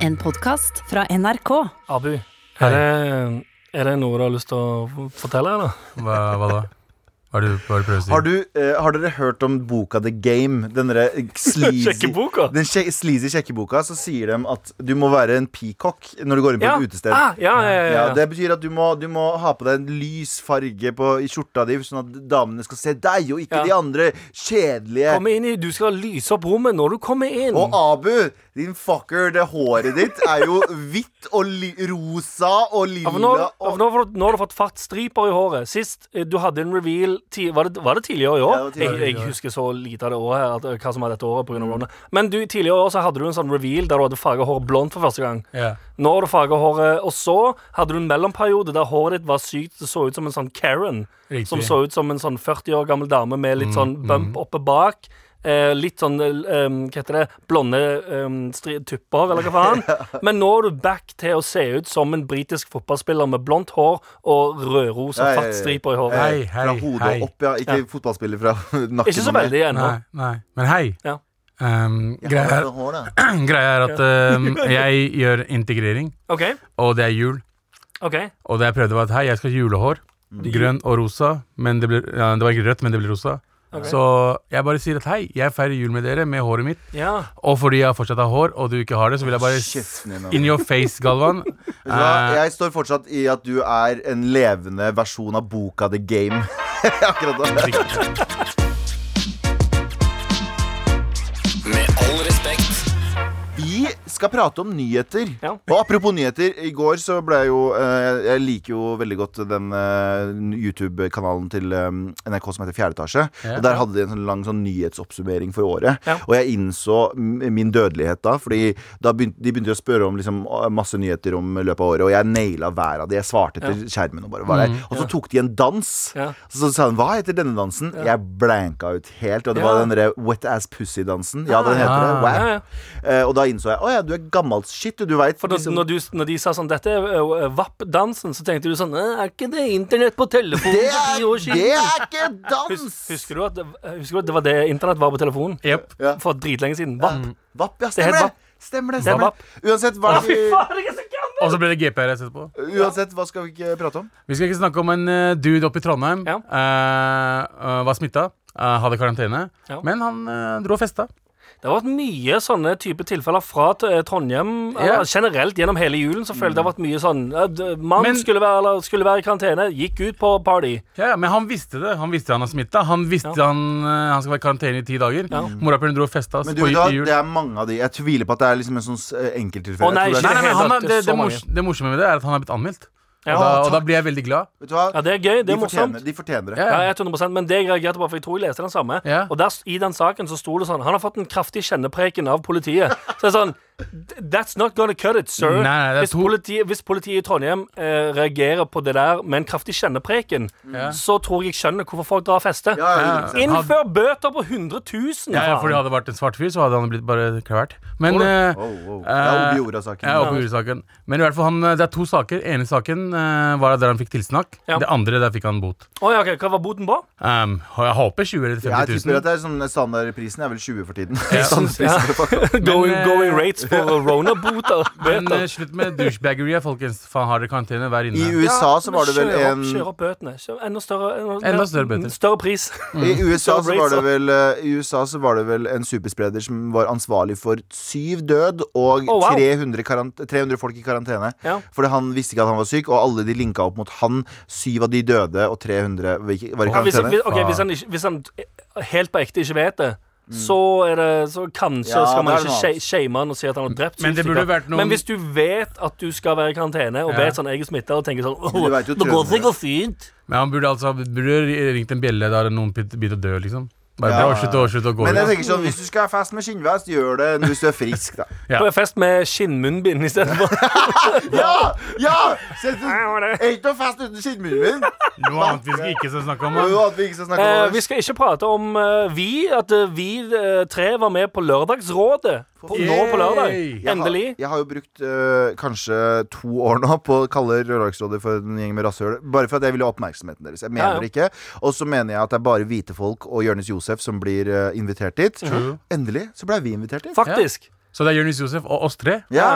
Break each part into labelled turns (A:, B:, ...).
A: En podkast fra NRK.
B: Abu, er det, er det noe du har lyst til å fortelle, eller?
C: Hva, hva da? Hva er det du hva er det du prøver å si?
D: Har, du, eh, har dere hørt om boka The Game? Den derre eh, sleazy
B: Sjekkeboka?
D: Den sje- sleazy sjekkeboka, så sier de at du må være en peacock når du går inn på
B: Ja.
D: et utested.
B: Ah, ja, ja, ja, ja.
D: Ja, det betyr at du må, du må ha på deg en lys farge på, i skjorta di, sånn at damene skal se deg, og ikke
B: Ja.
D: de andre kjedelige.
B: Kom inn i, du skal lyse opp rommet når du kommer inn.
D: Og Abu, din fucker, det håret ditt er jo hvitt og li rosa og
B: Ja, for nå,
D: lilla
B: ja, for
D: og
B: nå, har du- nå har du fått fatt striper i håret. Sist eh, du hadde en reveal ti, var, det, var det tidligere i år?
D: Ja, det var tidligere
B: jeg, jeg husker så lite av det året her, at, eh, hva som er dette året på grunn av corona. Men du, tidligere i år så hadde du en sånn reveal der du hadde farga håret blondt for første gang.
C: Ja.
B: Nå har du farga håret, og så hadde du en mellomperiode der håret ditt var sykt Det så ut som en sånn Karen.
C: Riktig. Mm,
B: Som så ut som en sånn 40 år gammel dame med litt sånn bump oppe bak. Eh, litt sånn eh, um, Hva heter det? Blonde um, stri tupper, eller hva faen. Men nå er du back til å se ut som en britisk fotballspiller med blondt hår og rødrosa
D: Nei,
B: fartstriper i håret.
C: Hei, hei,
D: Eh, fra hodet
C: hei.
D: og opp, ja. Ikke
B: Ja.
D: fotballspiller fra nakken.
B: Ikke så veldig ennå.
C: Nei, nei. Men hei.
B: Ja.
C: Um,
D: Ja,
C: greia, er,
D: hår, da.
C: greia er at um, jeg gjør integrering,
B: OK.
C: og det er jul.
B: ok
C: Og det jeg prøvde, var at hei, jeg skal ha julehår.
D: Mm.
C: Grønn og rosa. Men det, ble, ja, det var ikke rødt, men det ble rosa.
B: Ok.
C: Så jeg bare sier at hei, jeg feirer jul med dere med håret mitt.
B: Ja.
C: Og fordi jeg fortsatt har hår, og du ikke har det, så vil jeg bare s-
D: Kjeften din, Abu.
C: In your face, Galvan.
D: Vet du hva?
C: Eh,
D: Jeg står fortsatt i at du er en levende versjon av boka The Game. Akkurat da.
E: Med all respekt.
D: Vi skal prate om nyheter.
B: Ja.
D: Og apropos nyheter. I går så ble jeg jo eh, Jeg liker jo veldig godt den eh, YouTube-kanalen til eh, NRK som heter Fjerde etasje.
C: Ja.
D: Og der hadde de en sånn lang sånn nyhetsoppsummering for året.
B: Ja.
D: Og jeg innså m- min dødelighet da, fordi da begynte, de begynte å spørre om liksom, masse nyheter om løpet av året, og jeg naila hver av de. Jeg svarte etter skjermen og bare var der. Og så tok de en dans.
B: Mm. Ja.
D: Så sa hun 'hva heter denne dansen'? Jeg blanka ut helt, og det
B: Ja.
D: var den derre wet ass pussy-dansen. Ja, den heter det.
C: Ah.
D: Wow.
B: Ja, ja.
D: Eh, og da innså jeg å ja, du er gammelt shit, du liksom, veit.
B: For når, når, du, når de sa sånn 'Dette er eh, VAP-dansen', så tenkte du sånn «Eh, 'Er ikke det internett på telefonen
D: det,
B: for ti år
D: er, det
B: siden?'
D: er ikke dans!
B: Hus, husker, du at, det- husker du at det var det internett var på telefonen?
C: Jepp.
D: Ja.
B: For dritlenge siden.
D: Mm.
B: VAP.
D: Vapp, ja,
B: er helt
D: stemmer det. Stemmer det,
B: Det er
D: stemmer
B: vapp.
D: det. Uansett, hva,
B: Fy faen, jeg er så gammel!
C: Og så ble det GPRS etterpå.
D: uansett, hva skal vi ikke prate om?
C: Vi skal ikke snakke om en eh, dude oppe i Trondheim.
B: Ja.
C: eh, eh, var smitta, eh, hadde karantene.
B: Ja.
C: Men han eh, dro og festa.
B: Det har vært mye sånne type tilfeller fra t- eh, Trondheim.
C: Ja.
B: eller Generelt gjennom hele julen så føler jeg det har vært mye sånn eh, d- Mann
C: Men-
B: skulle, være, eller skulle være i karantene, gikk ut på party.
C: Ja, ja, men han visste det. Han visste han var smitta. Han visste
B: Ja.
C: han, eh, han skal være i karantene i ti dager.
B: Ja.
C: Morapuleren dro og festa. spoilt
D: Men du vet hva,
C: i jul.
D: det er mange av de. Jeg tviler på at det er liksom en sånn eh, enkelttilfelle.
B: Å, nei,
D: Jeg tror det
C: Nei,
B: det
C: nei,
D: er-
C: men han
B: hele
C: er, det,
B: tatt
C: det,
B: så mange.
C: mors, det morsomme med det er at han er blitt anmeldt.
B: Ja.
C: og, da,
D: Å,
C: og da
D: takk.
C: blir jeg veldig glad.
D: Vet du hva?
B: Ja, det er gøy. Det
D: de,
B: er
D: fortjener,
B: morsomt.
D: de fortjener det.
C: Ja.
B: Ja, 100 Men det jeg reagerte på, for jeg tror jeg leste den samme.
C: Ja.
B: Og der, i den saken så sto det sånn Han har fått en kraftig kjennepreken av politiet. Så det er sånn That's not gonna cut it, sir.
C: Nei, nei, det er
B: hvis,
C: to-
B: politiet, hvis politiet i Trondheim eh, reagerer på det der med en kraftig kjennepreken,
C: Ja.
B: så tror jeg jeg skjønner hvorfor folk drar og fester.
D: Ja, ja,
C: Ja.
D: 100%.
B: Innfør bøter på 100 000!
C: Ja, ja,
B: faen.
C: fordi hadde det vært en svart fyr, så hadde han blitt bare kvært. Men
B: Tror du?
C: eh,
D: Wow, wow. Det er oppe i jorda-saken.
C: Ja, oppe i jorda-saken. Men i hvert fall, han, eh, det er to saker. ene saken eh, var der han fikk tilsnakk.
B: Ja.
C: Det andre, der fikk han bot.
B: Å, ja, ok, Hva var boten på?
C: Um, og jeg håper 20 eller
D: Jeg
C: 50
D: tipper
C: 000.
D: at det er sånn standardprisen er vel 20 for tiden.
C: Ja.
B: Ja.
D: Standardprisen for fuck.
B: Going,
C: eh,
B: going rates for Rona-boter.
C: Men eh,
B: Bøter.
C: slutt med douchebaggery, folkens. Faen, har dere karantene? Vær
D: I
C: inne.
D: USA
B: Ja,
D: så
B: men
D: var det vel
B: kjør
D: en
B: opp, Kjør opp bøtene. Kjør enda større,
C: Enda større bøter.
B: Større pris.
D: I USA, så
B: Rates
D: var det
B: opp.
D: vel, eh, I USA så var det vel en superspreder som var ansvarlig for syv død og
B: Oh, wow.
D: 300, karant 300 folk i karantene.
B: Ja.
D: Fordi han visste ikke at han var syk, og alle de linka opp mot han. Syv av de døde, og 300 var ikke- var i
B: Ja, hvis,
D: karantene.
B: hvis, ok, hvis, han ikke, hvis han helt på ekte ikke vet det, så er det Så kanskje
D: Mm. Ja,
B: skal
D: det
B: man
D: er noe
B: ikke
D: annet.
B: sha- shame han og si at han har drept
C: Men det
B: syke stykker.
C: burde vært noen-
B: Men hvis du vet at du skal være i karantene, og
C: Ja.
B: vet sånn jeg er smitta, og tenker sånn
D: Du
B: «Åh,
D: vet jo
B: Det går
D: trøndere.
B: sikkert fint.
C: Men han burde altså burde ringt en bjelle da noen begynt- begynte å dø, liksom. Bare
D: Ja.
C: bra, slutt å, slutt å gå
D: Men jeg
C: ut.
D: tenker sånn, hvis du skal ha fest med skinnvest, gjør det hvis du er frisk, da.
C: Ja.
B: På en fest med skinnmunnbind istedenfor.
D: Ja! ja! Sett- Ikke noe fest uten skinnmunnen min!
C: Noe annet vi skal ikke skal snakke om.
D: Og
C: da.
D: at vi ikke skal snakke
B: Eh,
D: om
B: vi
D: det.
B: skal ikke prate om eh, vi, at eh, vi eh, tre var med på Lørdagsrådet. På, nå på lørdag.
C: Yay!
D: Jeg har-
B: Endelig.
D: Jeg har jo brukt øh, kanskje to år nå på å kalle Rørdagsrådet for en gjeng med rasshøl. Bare for at jeg ville ha oppmerksomheten deres. Jeg
B: Ja, ja.
D: mener det ikke. Og så mener jeg at det er bare hvite folk og Jonis Josef som blir øh, invitert dit.
C: True.
D: Endelig så blei vi invitert dit.
B: Faktisk.
C: Så det er Jonis Josef og oss tre.
D: Ja!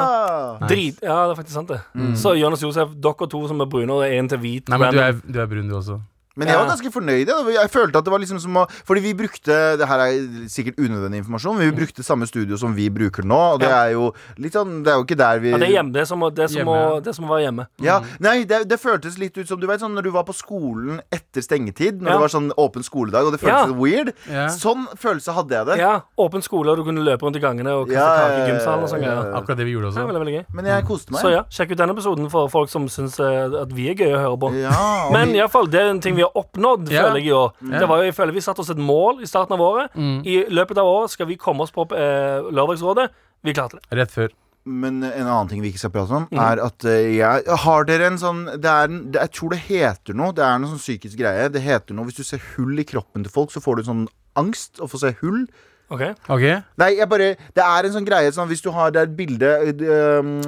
C: Nice.
B: Drit, ja, det er faktisk sant, det.
D: Mm.
B: Så Jonas Josef, dere to som er brune, og én til hvit.
C: Nei, men du
B: random.
C: er, du er brun, du også.
D: Men jeg var
B: Ja.
D: ganske fornøyd. Jeg, jeg følte at det var liksom som å Fordi vi brukte Det her er sikkert unødvendig informasjon, men vi brukte samme studio som vi bruker nå, og det
B: Ja.
D: er jo litt sånn Det er jo ikke der vi
B: ja, det er hjemme. Det er som, å- det er som,
C: Hjemme, ja.
B: å, det er som å være hjemme.
D: Mm. Ja, nei, det, det føltes litt ut som du vet, sånn, Når du var på skolen etter stengetid Når
B: Ja.
D: det var sånn åpen skoledag Og det
B: Ja.
D: føltes litt weird
C: Ja.
D: Sånn følelse hadde jeg det
B: Ja, Åpen skole, og du kunne løpe rundt i gangene og kaste
D: Ja,
B: kake
D: ja,
B: i
D: ja,
B: gymsalen og sånne
D: ja, ja.
B: greier.
C: Akkurat det vi gjorde
B: Det er
C: også.
B: veldig, veldig gøy.
D: Men jeg koste meg
B: Så ja, sjekk ut denne episoden for folk som syns at vi er gøye å høre på.
D: Ja, og
B: Men
D: vi-
B: iallfall, det er en ting vi har oppnådd,
C: Ja.
B: føler jeg i år.
C: Ja.
B: Det var jo, jeg føler Vi satte oss et mål i starten av året.
C: Mm,
B: I løpet av året skal vi komme oss på eh, Lørdagsrådet. Vi klarte det.
C: Rett før.
D: Men en annen ting vi ikke skal prate
B: Mm.
D: om, er at eh, jeg Har dere en sånn det er, en- det, Jeg tror det heter noe. Det er noe sånn psykisk greie. Det heter noe Hvis du ser hull i kroppen til folk, så får du sånn angst å få se hull.
B: Ok?
C: Ok?
D: Nei, jeg bare Det er en sånn greie sånn hvis du har det er et bilde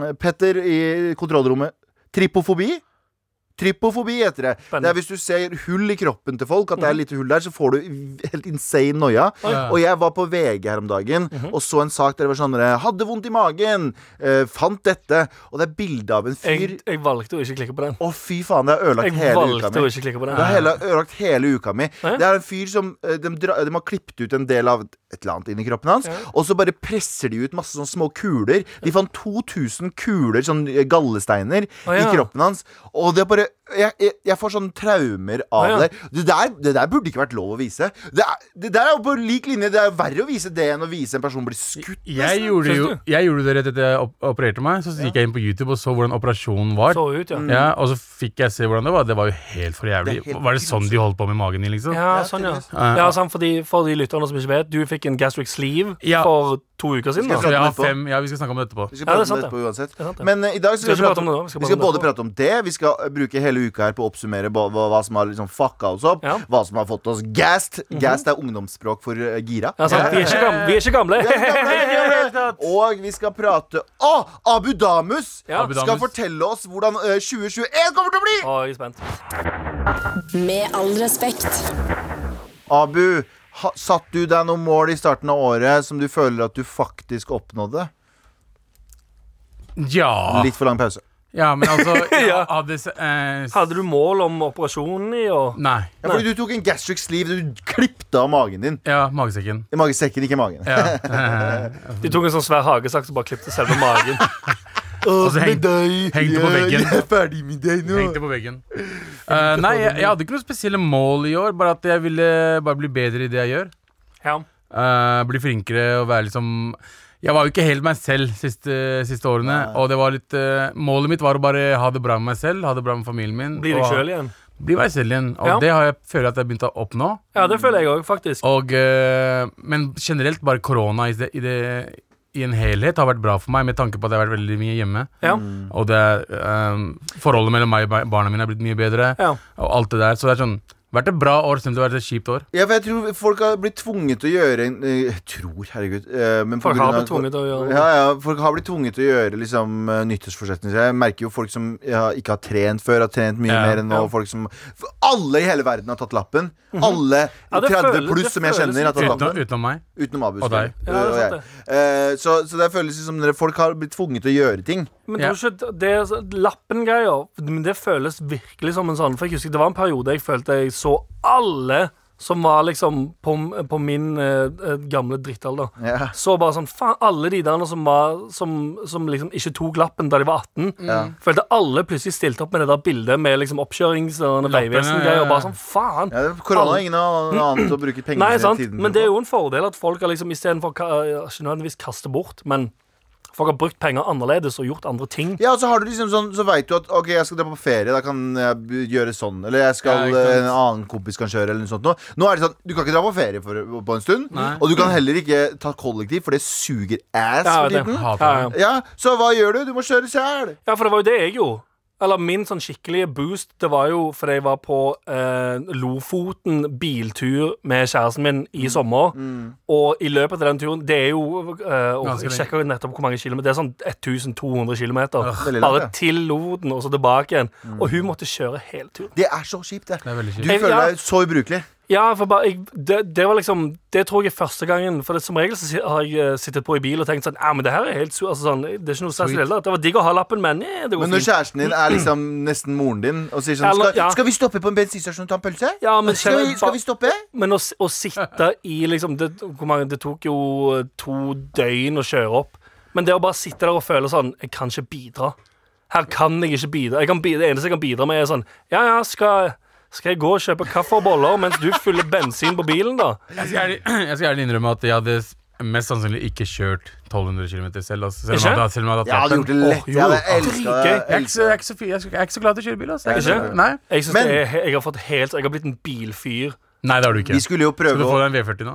D: eh, Petter i kontrollrommet. Tripofobi? Tripofobi heter det.
B: Spennende. Mhm.
D: Det er hvis du ser hull i kroppen til folk, at det er lite hull der, så får du helt insane noia. Og jeg var på VG her om dagen
B: Mhm.
D: og så en sak der det var sånn der, Hadde vondt i magen, eh, fant dette. Og det er bilde av en fyr
B: Jeg, jeg valgte å ikke klikke på den.
D: Å, fy faen, det har ødelagt
B: Jeg
D: hele uka
B: valgte
D: mi.
B: å ikke klikke på
D: Det har
B: den.
D: hele, ødelagt hele uka mi.
B: Ja, ja.
D: Det er en fyr som eh, de, dra, de har klippet ut en del av et eller annet inni kroppen hans,
B: Ja.
D: og så bare presser de ut masse sånne små kuler. De fant 2000 kuler, sånn eh, gallesteiner,
B: Å, ja.
D: i kroppen hans. Og det er bare Jeg, jeg, jeg får sånne traumer av
B: Å, ja.
D: det. Det der, det der burde ikke vært lov å vise. Det, er, det der er jo på lik linje. Det er verre å vise det enn å vise en person bli skutt.
C: Jeg gjorde,
B: Syns
C: jo,
B: du?
C: jeg gjorde det rett etter jeg op opererte meg. Så gikk jeg inn på YouTube og så hvordan operasjonen var.
B: Så ut, ja.
C: Ja, Og så fikk jeg se hvordan det var. Det var jo helt for jævlig.
D: Det er helt
C: Var det sånn de holdt på med magen din, liksom?
B: Ja, sånn, ja.
C: Ja.
B: ja sånn, for, de, for de lytterne som ikke vet, du fikk en gastric sleeve
C: Ja.
B: for to uker siden. da
D: Skal
C: Så
D: jeg
C: jeg har
D: prate om
C: fem, ja, vi skal snakke om det etterpå.
D: Vi skal
B: Ja, det er
D: prate
B: sant,
D: om det etterpå uansett.
B: er sant, det.
D: Men eh, i dag
B: Skal
D: skal
B: ikke
D: vi prate
B: prate om
D: om,
B: det nå, vi skal
D: vi
B: prate om
D: skal
B: det
D: både
B: etterpå.
D: prate om det, vi skal eh, bruke hele uka her på å oppsummere hva, hva, hva som har liksom fucka oss opp.
B: Ja. Mhm.
D: Hva som har fått oss gassed. Gassed er ungdomsspråk for eh, gira.
B: Ja, sant? Vi er ikke gamle. Vi er ikke gamle.
D: Ja, ja, ja, ja. Og vi skal prate Å! Abu Damus
B: Ja.
C: Abu
D: skal
C: Damus.
D: fortelle oss hvordan eh, 2021 kommer til å bli!
B: Å, jeg er spent.
A: Med all respekt.
D: Abu, ha, satt du deg noen mål i starten av året som du føler at du faktisk oppnådde?
C: Ja.
D: Litt for lang pause.
C: ja, men altså ja,
B: Ja.
C: hadde, s- eh, s-
B: Hadde du mål om operasjonen i år?
C: Nei.
D: Ja, fordi du tok en gastric sleeve. Du klippte av magen din.
C: Ja, magesekken.
D: I magesekken, ikke magen.
C: Ja. eh,
B: De tok en sånn svær hagesaks og bare klippte selve magen.
D: Og
C: så heng- hengte på veggen.
D: Jeg er ferdig med deg nå.
C: Hengte på veggen. Eh, nei, jeg, jeg hadde ikke noen spesielle mål i år, bare at jeg ville bare bli bedre i det jeg gjør.
B: Ja.
C: Eh, bli flinkere og være liksom Jeg var jo ikke helt meg selv siste, siste årene. Og det var litt eh, Målet mitt var å bare ha det bra med meg selv, ha det bra med familien min.
B: Bli deg
C: og-
B: sjøl igjen.
C: Bli meg selv igjen. Og
B: Ja.
C: det har jeg føler jeg at jeg har begynt å oppnå.
B: Ja, det føler jeg òg, faktisk.
C: Og, eh, men generelt, bare korona i, det, i, det, i en helhet har vært bra for meg, med tanke på at jeg har vært veldig mye hjemme.
B: Ja.
C: Og det, eh, forholdet mellom meg og ba- barna mine har blitt mye bedre.
B: Ja.
C: Og alt det der. Så det er sånn vært et bra år, selv om det har vært et kjipt år.
D: Ja, for jeg tror folk har blitt tvunget til å gjøre en eh, Jeg tror, herregud eh, men på
B: Folk
D: grunn
B: har
D: av-
B: blitt tvunget til å gjøre det.
D: ja, ja, folk har blitt tvunget til å gjøre liksom, eh, nyttårsforsettene sine. Jeg merker jo folk som ja, ikke har trent før, har trent mye
C: Ja.
D: mer enn nå.
B: Ja. Mhm.
D: Folk som, for alle i hele verden har tatt lappen. Alle
B: Ja, det
D: 30
B: føles-
D: pluss
B: det
D: som jeg
B: føles
D: kjenner, har tatt
C: Utenom,
D: lappen.
C: utenom meg.
D: Utenom Abu.
C: Og deg.
D: selvfølgelig.
B: Ja, det er sant
D: Og jeg. Eh, så, så det føles som dere, folk har blitt tvunget til å gjøre ting.
B: Men
C: Ja.
B: tror du ikke det Lappen-greia, men det føles virkelig som en sånn For jeg husker det var en periode jeg følte jeg så alle som var liksom på, på min eh, eh, gamle drittalder.
D: Ja.
B: Så bare sånn Faen, alle de der som, var, som, som liksom ikke tok lappen da de var 18, følte alle plutselig stilte opp med det der bildet med liksom oppkjørings- og
C: ja, ja.
B: veivesen-greier, og bare sånn Faen!
D: Ja, korona
B: Alle-
D: har ingen an- annet å bruke pengene
B: Nei,
D: sine
B: sant,
D: tiden
B: men det er
D: på.
B: jo en fordel at folk har liksom istedenfor ka- Ikke nødvendigvis kaste bort, men folk har brukt penger annerledes og gjort andre ting.
D: Ja, og så har du liksom sånn, så vet du at Ok, jeg skal dra på ferie, da kan jeg b- gjøre sånn Eller jeg skal,
C: Ja, ikke sant.
D: en annen kompis kan kjøre Eller noe sånt nå. nå er det sånn, du kan ikke dra på ferie for, på en stund
C: Nei.
D: Og du kan heller ikke ta kollektiv For det suger ass
B: Ja,
D: for
B: jeg vet
D: tiden
B: det.
C: Hater
B: Ja,
C: det.
B: ja.
D: Ja, så hva gjør du? Du må kjøre selv
B: Ja, for det var jo det jeg gjorde. Eller min sånn skikkelige boost, det var jo fordi jeg var på eh, Lofoten biltur med kjæresten min
C: Mm.
B: i sommer. Og i løpet av den turen Det er jo eh, og
C: Ganske
B: Jeg
C: lenge.
B: sjekka nettopp hvor mange kilometer. Det er sånn 1200 km.
D: veldig langt, ja.
B: Bare til Lofoten
C: Mm.
B: og så tilbake igjen. Og hun måtte kjøre hele turen.
D: Det er så kjipt det
C: Det er veldig
D: Du
C: kjipt.
B: Jeg-
D: føler
B: ja.
D: deg så ubrukelig
B: Ja, for bare, jeg, det, det var liksom Det tror jeg er første gangen. For det, som regel så si- har jeg eh, sittet på i bil og tenkt sånn Ja, men det her er helt su- altså, sånn, Det er ikke noe særlig
C: Sweet.
B: heller. Det var digg å ha lappen, men eh, det går
D: Men når
B: fint.
D: kjæresten din er liksom nesten moren din og sier sånn
B: Eller-
D: Skal,
B: ja.
D: skal vi stoppe på en bensinstasjon og ta en pølse?
B: Ja, men
D: skal, vi,
B: kjenner-
D: skal vi stoppe?
B: Men å, s- å sitte i liksom det, hvor mange, det tok jo eh, to døgn å kjøre opp. Men det å bare sitte der og føle sånn Jeg kan ikke bidra. Her kan jeg ikke bidra. Jeg kan bidra. Det eneste jeg kan bidra med, er sånn Ja, ja, skal, skal jeg gå og kjøpe kaffe og boller mens du fyller bensin på bilen, da?
C: Jeg skal, ærlig, jeg skal ærlig innrømme at jeg hadde s- mest sannsynlig ikke kjørt 1200 km selv. Altså, selv, om
B: Ikke?
C: jeg hadde, selv om jeg hadde
D: Jeg hadde
C: lappen.
D: gjort det lett.
B: Åh,
D: Jeg hadde
B: jo.
D: elska
B: Dritgøy.
C: Jeg er ikke så-
D: det.
C: jeg er ikke så fi- jeg er ikke- jeg er ikke så glad til å kjøre bil. Altså. Jeg, er ikke
B: Ikke?
C: så- nei.
B: Jeg, synes
D: Men-
B: det er, jeg har fått helt Jeg har blitt en bilfyr.
C: nei, det har du ikke.
D: Vi
C: Skal
D: skulle jo
C: du
D: prøve
C: få
D: å
C: deg en V40 nå?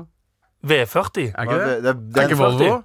B: V40.
C: Er
D: Hva
C: ikke
D: er
C: det?
D: det- det-
C: Er
D: det-
C: ikke Volvo?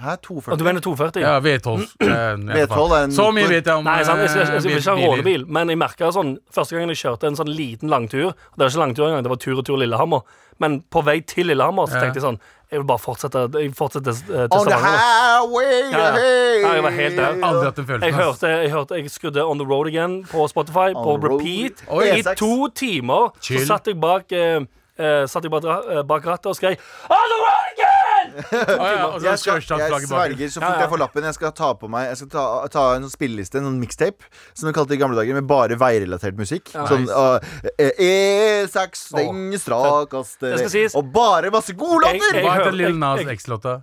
D: Hæ,
B: Og du
D: 240?
B: mener 240?
C: Ja, V12. eh, jeg vet
D: V12
C: faen.
D: er en
C: Så mye vet jeg
B: Mm.
C: om
B: Nei, sant? jeg, jeg, jeg,
C: eh,
B: vil ikke ha
C: biler.
B: rånebil, men jeg merket sånn Første gangen jeg kjørte en sånn liten langtur og Det var ikke langtur engang, det var tur og tur Lillehammer. Men på vei til Lillehammer så
C: Ja.
B: tenkte jeg sånn Jeg vil bare fortsette jeg fortsetter, eh, til
D: On the
B: Stavanger.
D: highway!
B: Ja, ja. Ja, jeg var helt der.
C: Jeg har Aldri hatt den følelsen.
B: Jeg
C: ass.
B: hørte, jeg hørte Jeg skrudde On The Road Again på Spotify, på
D: On the road. E
B: repeat.
D: Oi.
B: I
D: E6.
B: to timer
C: Chill.
B: så satt jeg bak eh, eh, Satt jeg bak, ra- eh, bak rattet og skrek On the road again!
C: Å, ja, og så
B: Altså,
D: Jeg, skal, jeg
C: Sørstatsflagget bak.
D: sverger, så fort
B: Ja, ja.
D: jeg får lappen, jeg skal ta på meg Jeg skal ta, ta en sånn spilleliste, en sånn mixtape, som vi kalte det i gamle dager, med bare veirelatert musikk. Sånn
C: Nice.
D: uh, E6, den strakeste
B: Det skal sies.
D: Og bare masse gode
B: Jeg-
D: låter!
B: jeg-
C: Hva heter
B: hører-
C: Lill Nas
B: jeg- jeg-
C: X-låta?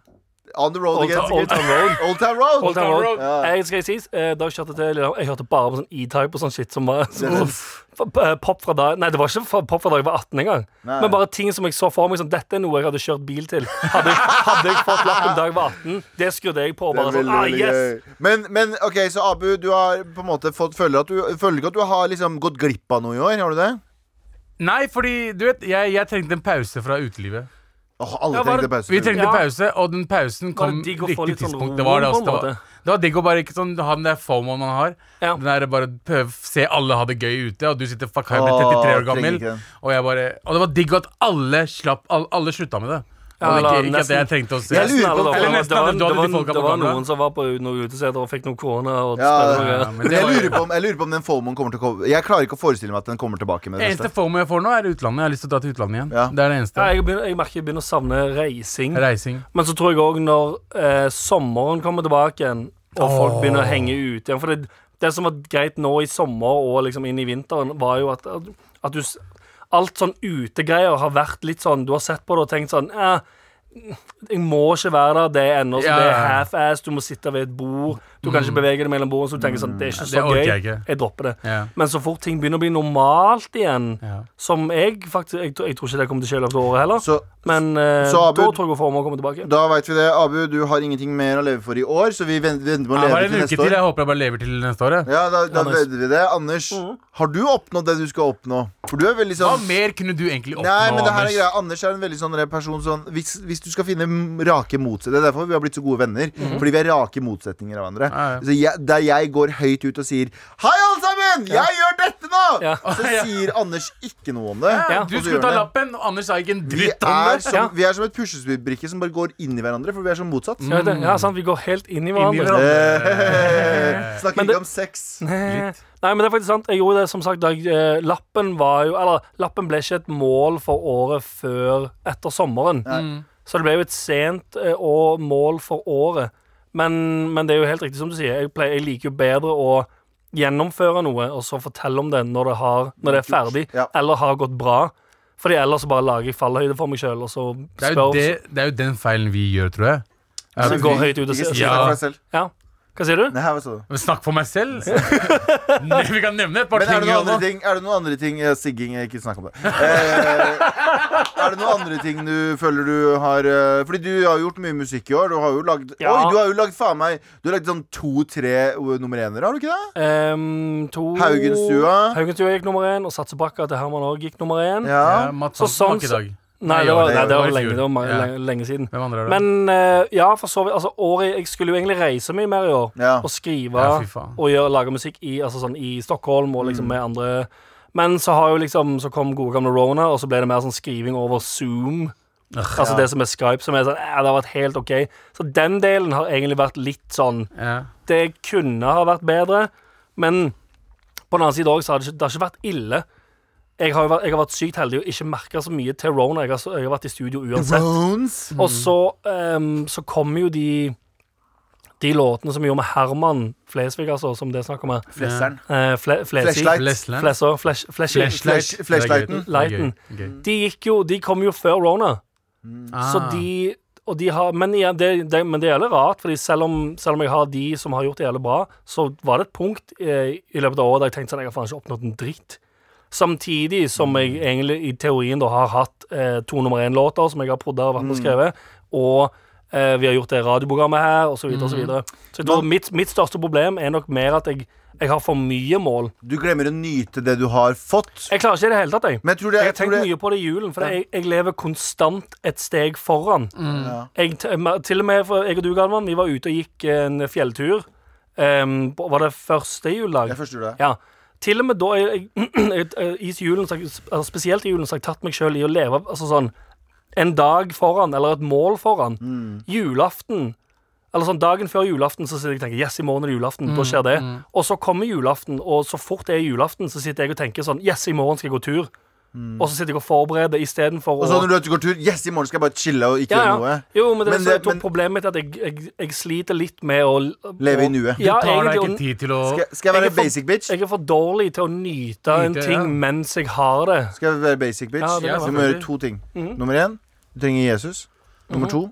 D: On the road
B: Old
D: again.
B: Town- Old Town Road.
D: Old Town Road.
B: Old Town Road.
D: Ja.
B: Jeg skal jeg sies, eh, da jeg kjørte til Lillehammer, jeg hørte bare på sånn E-type og sånn shit som var
D: er-
B: Uff. F- eh, Pop fra da Nei, det var ikke fra- pop fra da jeg var 18 engang.
D: Nei.
B: Men bare ting som jeg så for meg sånn, Dette er noe jeg hadde kjørt bil til. Hadde, jeg- hadde jeg fått lappen da jeg var 18, det skrudde jeg på. Og
D: Det
B: bare
D: er veldig,
B: sånn, ah,
D: veldig
B: yes
D: gøy. men, men OK, så Abu, du har på en måte fått, føler, at du, føler ikke at du har liksom gått glipp av noe i år? Har du det?
C: Nei, fordi du vet, jeg, jeg trengte en pause fra utelivet.
D: Åh, alle
B: Ja, var
D: trengte
B: det-
D: pause.
C: Vi trengte
B: Ja.
C: pause, og den
B: Var
C: pausen
B: det
C: kom
B: digg å få
C: riktig
B: litt sånn
C: tidspunkt.
B: ro
C: Det var
B: på
C: det,
B: en
C: altså. Det
B: måte?
C: var, det var digg å bare ikke sånn, ha den der fomoen man har.
B: Ja.
C: Den der bare prøv, Se alle ha det gøy ute, og du sitter fuck, jeg ble
D: Åh,
C: 33 år
D: trenger
C: gammel.
D: ikke den.
C: Og, jeg bare, og det var digg at alle slapp Alle, alle slutta med det.
B: Ja,
C: Og
B: eller
C: ikke, ikke at jeg
B: nesten-
C: trengte å se
D: Jeg lurer-
B: Nesten alle
D: på-
B: da, for
C: Eller
B: det
C: nesten
B: var-
C: alle,
B: Det
C: da hadde
B: var
C: de folka
B: det
C: på
B: var
C: gamle.
B: noen som var på noen uteseter og fikk noen korona. Og
D: Ja,
B: spredde
D: ja,
B: noe.
C: men
D: Men
C: det
D: jeg
C: var-
D: lurer, på om, jeg lurer på om den fomoen kommer til å komme Jeg klarer ikke å forestille meg at den kommer tilbake med det
C: Eneste
D: neste.
C: fomo jeg får nå, er utlandet. Jeg har lyst til å dra til utlandet igjen.
D: Ja.
C: Det er det eneste.
B: Ja, jeg, begynner, jeg merker jeg begynner å savne reising.
C: Reising.
B: Men så tror jeg òg når eh, sommeren kommer tilbake igjen, og folk
C: Åh.
B: begynner å henge ut igjen For det, det som var greit nå i sommer og liksom inn i vinteren, var jo at, at, at du s- Alt sånn utegreier har vært litt sånn Du har sett på det og tenkt sånn eh, jeg må ikke være der, det er ennå så
C: Ja,
B: det er
C: ja, ja.
B: half-ass. Du må sitte ved et bord. Du kan ikke bevege deg mellom bordene, så du tenker sånn Det er ikke
C: Det
B: så
C: orker
B: gøy.
C: jeg ikke.
B: Jeg dropper det.
C: Ja.
B: Men så fort ting begynner å bli normalt igjen,
C: Ja.
B: som jeg faktisk Jeg, tror- jeg tror ikke det kommer til å skje i løpet av året heller,
D: Så
B: men eh,
D: Så, Abud-
B: da tror jeg hun får meg å komme tilbake.
D: da veit vi det. Abu, du har ingenting mer å leve for i år, så vi venter, venter med å
C: Det
D: leve
C: var en
D: til
C: uke
D: neste
C: til.
D: år.
C: Jeg håper jeg bare lever til neste år. jeg.
D: Ja, da, da
B: Anders.
D: venter vi det. Anders, har du oppnådd det du skal oppnå? For du er veldig
C: Hva
D: sånn
C: mer kunne du egentlig oppnå,
D: Nei, men det her er
C: Anders?
D: greia Anders er en veldig sånn person sånn, hvis, hvis du skal finne m- rake motsetninger Det er derfor vi har blitt så gode venner Fordi vi er rake motsetninger av hverandre
C: Mhm. Ja, ja.
D: Så jeg, Der jeg går høyt ut og sier Hei alle sammen, jeg gjør dette nå
B: Ja.
D: Så
C: Ja.
D: sier Anders ikke noe om det
C: Ja,
D: og
C: du
D: så gjør
C: skulle ta
D: han det.
C: lappen, og Anders sa ikke en
D: vi
C: dritt om
D: er,
C: det.
D: som,
B: Ja.
D: vi er som et puslespillbrikke som bare går inn i hverandre For vi er som motsatt
B: Ja, det, ja, sant, vi går helt inn i
C: Inni
B: hverandre.
D: Eh, Snakker
B: Men det-
D: ikke om sex
C: Litt.
B: Nei, men det er faktisk sant. Jeg gjorde det som sagt da jeg, eh, Lappen var jo Eller, lappen ble ikke et mål for året før etter sommeren.
C: Mm.
B: Så det ble jo et sent eh, og mål for året. Men, men det er jo helt riktig som du sier. Jeg, pleier, jeg liker jo bedre å gjennomføre noe og så fortelle om det når det, har, når det er ferdig,
D: Ja.
B: eller har gått bra. Fordi ellers så bare lager jeg fallhøyde for meg sjøl, og så
C: Det er, jo
B: spør
C: det, det er jo den feilen vi gjør, tror jeg.
B: Så
D: Nei,
B: går
D: vi-
B: høyt ut og
D: ikke
B: sier-
D: si det
C: Ja.
D: for deg selv.
B: Ja. Hva sier du?
D: Nei, hva sa du?
C: Men Snakk for meg selv. Nei, vi kan nevne et par
D: Men er
C: ting.
D: det noen andre
C: Johanna.
D: ting, er det noen andre ting eh, Sigging, eh, ikke snakk om det. Eh, er det noen andre ting du føler du har eh, Fordi du har gjort mye musikk i år. Du har jo lagd
B: Ja.
D: Oi, du har jo lagd faen meg Du har lagd sånn to-tre eh, nummer ener, har du ikke det?
B: Ehm, to
D: Haugenstua.
B: Haugenstua gikk nummer én, og Satsepakka til Herman òg gikk nummer én.
D: Ja.
C: Ja, Mats
B: Så
C: Hansen var
B: sånn
C: ikke i dag.
B: Nei,
C: Nei,
B: det var,
D: det
B: nei, det
C: var
B: var
C: i
B: lenge,
C: fjor.
B: det var mange,
C: Ja.
B: lenge, lenge siden.
C: Hvem andre er det?
B: Men eh, ja, for så vidt. Altså, året, jeg skulle jo egentlig reise mye mer i år.
D: Ja.
B: Og skrive
C: Ja, fy faen.
B: og gjøre, lage musikk i, altså, sånn, i Stockholm og
D: Mm.
B: liksom med andre Men så har jo liksom Så kom gode gamle Rona, og så ble det mer sånn skriving over Zoom. altså det som er Skype, som er sånn eh, Det har vært helt OK. Så den delen har egentlig vært litt sånn
C: ja.
B: det kunne ha vært bedre, men på den annen side òg, så har det ikke, det har ikke vært ille. jeg har, jo vært, jeg har vært sykt heldig og ikke merka så mye til Rona. Jeg har, så- jeg har vært i studio uansett. Mm.
D: Rones.
B: Og så, um, så kommer jo de de låtene som vi gjorde med Herman Flesvig, altså, som det er snakk om her.
D: Flesseren.
B: Eh, fle, Flesi.
D: Fleshlight.
C: Flesland.
B: Flesser, flesh, fleshy.
D: Flash- flashlighten.
B: Lighten.
C: Gøy. Gøy.
B: De gikk jo, de kom jo før Rona. Så
C: Ah.
B: de, og de har, men, igjen, det, det, men det gjelder rart, Fordi selv om, selv om jeg har de som har gjort det jævlig bra, så var det et punkt eh, i løpet av året der jeg tenkte sånn, jeg har faen ikke oppnådd en dritt. Samtidig som
D: Mm.
B: jeg egentlig i teorien da har hatt eh, to nummer én-låter som jeg har prodda og vært
D: Mm.
B: med og skrevet, og eh, vi har gjort det radioprogrammet her, osv., videre
D: Mm.
B: Så, videre så jeg tror mitt, mitt største problem er nok mer at jeg, jeg har for mye mål.
D: Du glemmer å nyte det du har fått.
B: Jeg klarer ikke i det hele tatt, jeg.
D: Men jeg tror det,
B: Jeg
D: jeg
B: har
D: tror
B: tenkt
D: det
B: mye på det i julen, for jeg, jeg lever konstant et steg foran. Jeg, t- eh, ma- til og med for jeg og du, Galvan, vi var ute og gikk en fjelltur. em, på- var det første juledag?
D: Det er første juledag.
B: Ja. Til og med da jeg, jeg, jeg, i julen, så har jeg- altså Spesielt i julen så har jeg tatt meg sjøl i å leve altså sånn en dag foran, eller et mål foran.
D: Mm.
B: Julaften. Eller sånn Dagen før julaften så sitter jeg og tenker Yes, i morgen er det julaften. da skjer det. Og så kommer julaften, og så fort det er julaften, så sitter jeg og tenker sånn Yes, i morgen skal jeg gå tur. Og så sitter jeg og forbereder istedenfor
D: Mm. Og så når du er ute og går tur Yes, i morgen skal jeg bare chille og ikke
B: ja,
D: gjøre
B: ja.
D: noe.
B: Jo, men, det,
D: Men
B: så jeg
D: det-
B: tror
D: men-
B: problemet mitt er at jeg, jeg, jeg sliter litt med å
D: Leve i
B: å-
D: nuet.
B: Ja,
C: du tar deg ikke
B: egentlig,
C: tid til å
D: Skal, jeg- skal
B: Jeg
D: jeg være
B: er for-
D: basic bitch?
B: jeg er for dårlig til å nyte en
C: Nyte,
B: ting
C: ja.
B: mens jeg har det.
D: Skal jeg være basic bitch?
B: Ja, det Mhm.
C: kan
D: så
C: være.
D: du må gjøre to ting. Nummer én, du trenger Jesus. Nummer to,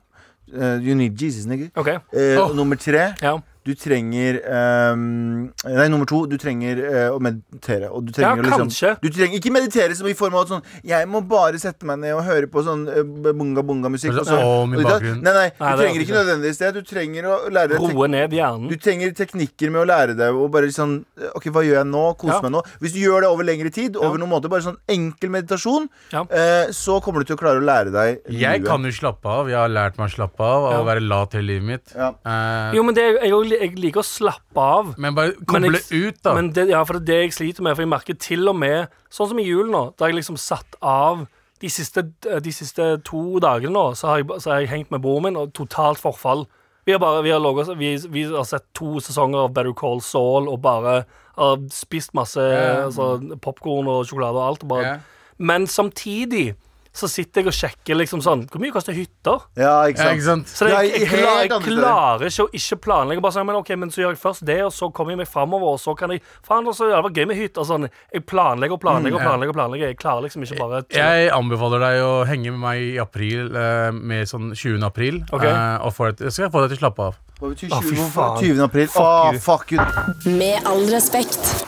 D: eh, you need Jesus, nigger.
B: OK.
D: Eh, og
C: Åh.
D: Nummer tre,
B: Ja.
D: du trenger ehm, Nei, nummer to, du trenger eh, å meditere. Og du
B: Ja,
D: trenger å
B: kanskje.
D: liksom Du trenger ikke meditere som i form av at sånn Jeg må bare sette meg ned og høre på sånn bunga-bunga-musikk.
C: Og så
B: sånn,
C: om i bakgrunnen.
D: Nei, nei,
B: Nei,
D: du
B: det er
D: trenger ikke
B: ikke
D: nødvendigvis det. Du trenger å lære deg tek-
B: Roe ned hjernen.
D: du trenger teknikker med å lære deg å bare sånn OK, hva gjør jeg nå? Kose
B: Ja.
D: meg nå. Hvis du gjør det over lengre tid, over
B: Ja.
D: noen måter, bare sånn enkel meditasjon,
B: Ja.
D: eh, så kommer du til å klare å lære deg
C: Jeg
D: nuet.
C: kan jo slappe av. Jeg har lært meg å slappe av og
B: Ja.
C: være lat hele livet mitt.
D: Ja.
C: Eh,
B: Jo, men det, er- jeg, er jo li- jeg liker å slappe av.
C: men bare koble
B: jeg,
C: ut, da.
B: Men det, ja, for det er det jeg sliter med. For jeg merker til og med Sånn som i julen nå, da jeg liksom satt av de siste, eh, de siste to dagene nå, så har, jeg, ba- så har jeg hengt med broren min, og totalt forfall. Vi har, bare, vi, har ligget og- vi, vi har sett to sesonger av Better Call Saul og bare har spist masse
C: Ja.
B: altså, popkorn og sjokolade og alt. Og bare.
C: Ja.
B: Men samtidig så sitter jeg og sjekker liksom sånn Hvor mye koster hytter?
D: Ja, ikke sant?
C: ja, ikke sant?
B: Så det,
D: Nei,
B: jeg, jeg, klarer,
D: helt
B: jeg
D: andre
B: klarer ikke å ikke planlegge. Bare sånn, men ok, men så gjør jeg først det, og så kommer jeg meg framover, og så kan jeg Faen, altså, det var gøy med hytte. og Sånn. Jeg planlegger og planlegger og
C: ja.
B: planlegger. og planlegger Jeg klarer liksom ikke bare
C: Jeg anbefaler deg å henge med meg i april, eh, med sånn 20. april.
B: Ok.
C: eh, og få deg til, så skal jeg få deg til å slappe av.
D: Hva betyr
B: Å, fy
D: 20,
B: faen.
D: 20. april? Fuck,
C: you.
D: fuck you.
A: Med all respekt.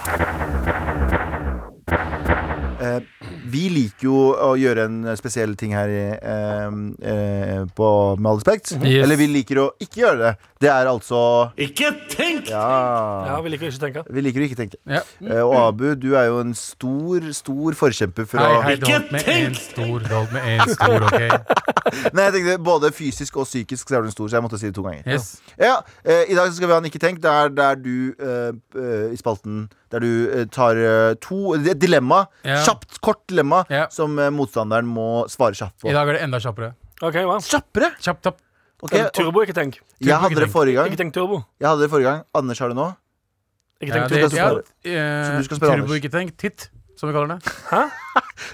D: Eh, vi liker jo å gjøre en spesiell ting her i, eh, eh, på Med all respekt.
C: Yes.
D: Eller vi liker å ikke gjøre det. Det er altså
E: Ikke tenk!
B: Ja,
D: Ja.
B: vi liker ikke å tenke.
D: Vi liker å ikke tenke.
C: Ja.
D: Eh, og Abu, du er jo en stor, stor forkjemper for
C: Hei,
D: å
C: hei, det holdt med én stor, det holdt med én stor, ok?
D: Nei, jeg tenkte både fysisk og psykisk så er du stor, så jeg måtte si det to ganger.
C: Yes.
D: Ja, eh, I dag så skal vi ha en Ikke tenk, der, der du eh, eh, i spalten Der du eh, tar eh, to det er et dilemma.
C: Ja.
D: Kjapt, kort dilemma
C: Ja.
D: som eh, motstanderen må svare kjapt
C: I
D: på.
C: dag er det enda kjappere.
B: OK, hva?
D: Kjappere!
C: Kjapp, tapp.
D: Ok,
B: Tenk
D: og-
B: Turbo, ikke tenk.
D: jeg hadde det forrige gang.
B: Ikke tenk turbo.
D: Jeg hadde det forrige gang Anders har det nå.
B: Ikke
C: Ja,
B: tenk
C: det,
B: turbo.
D: du skal
C: ja,
D: spørre. Så
C: eh,
D: du skal spørre
C: turbo,
D: Anders.
C: ikke tenk. Titt, som vi kaller det.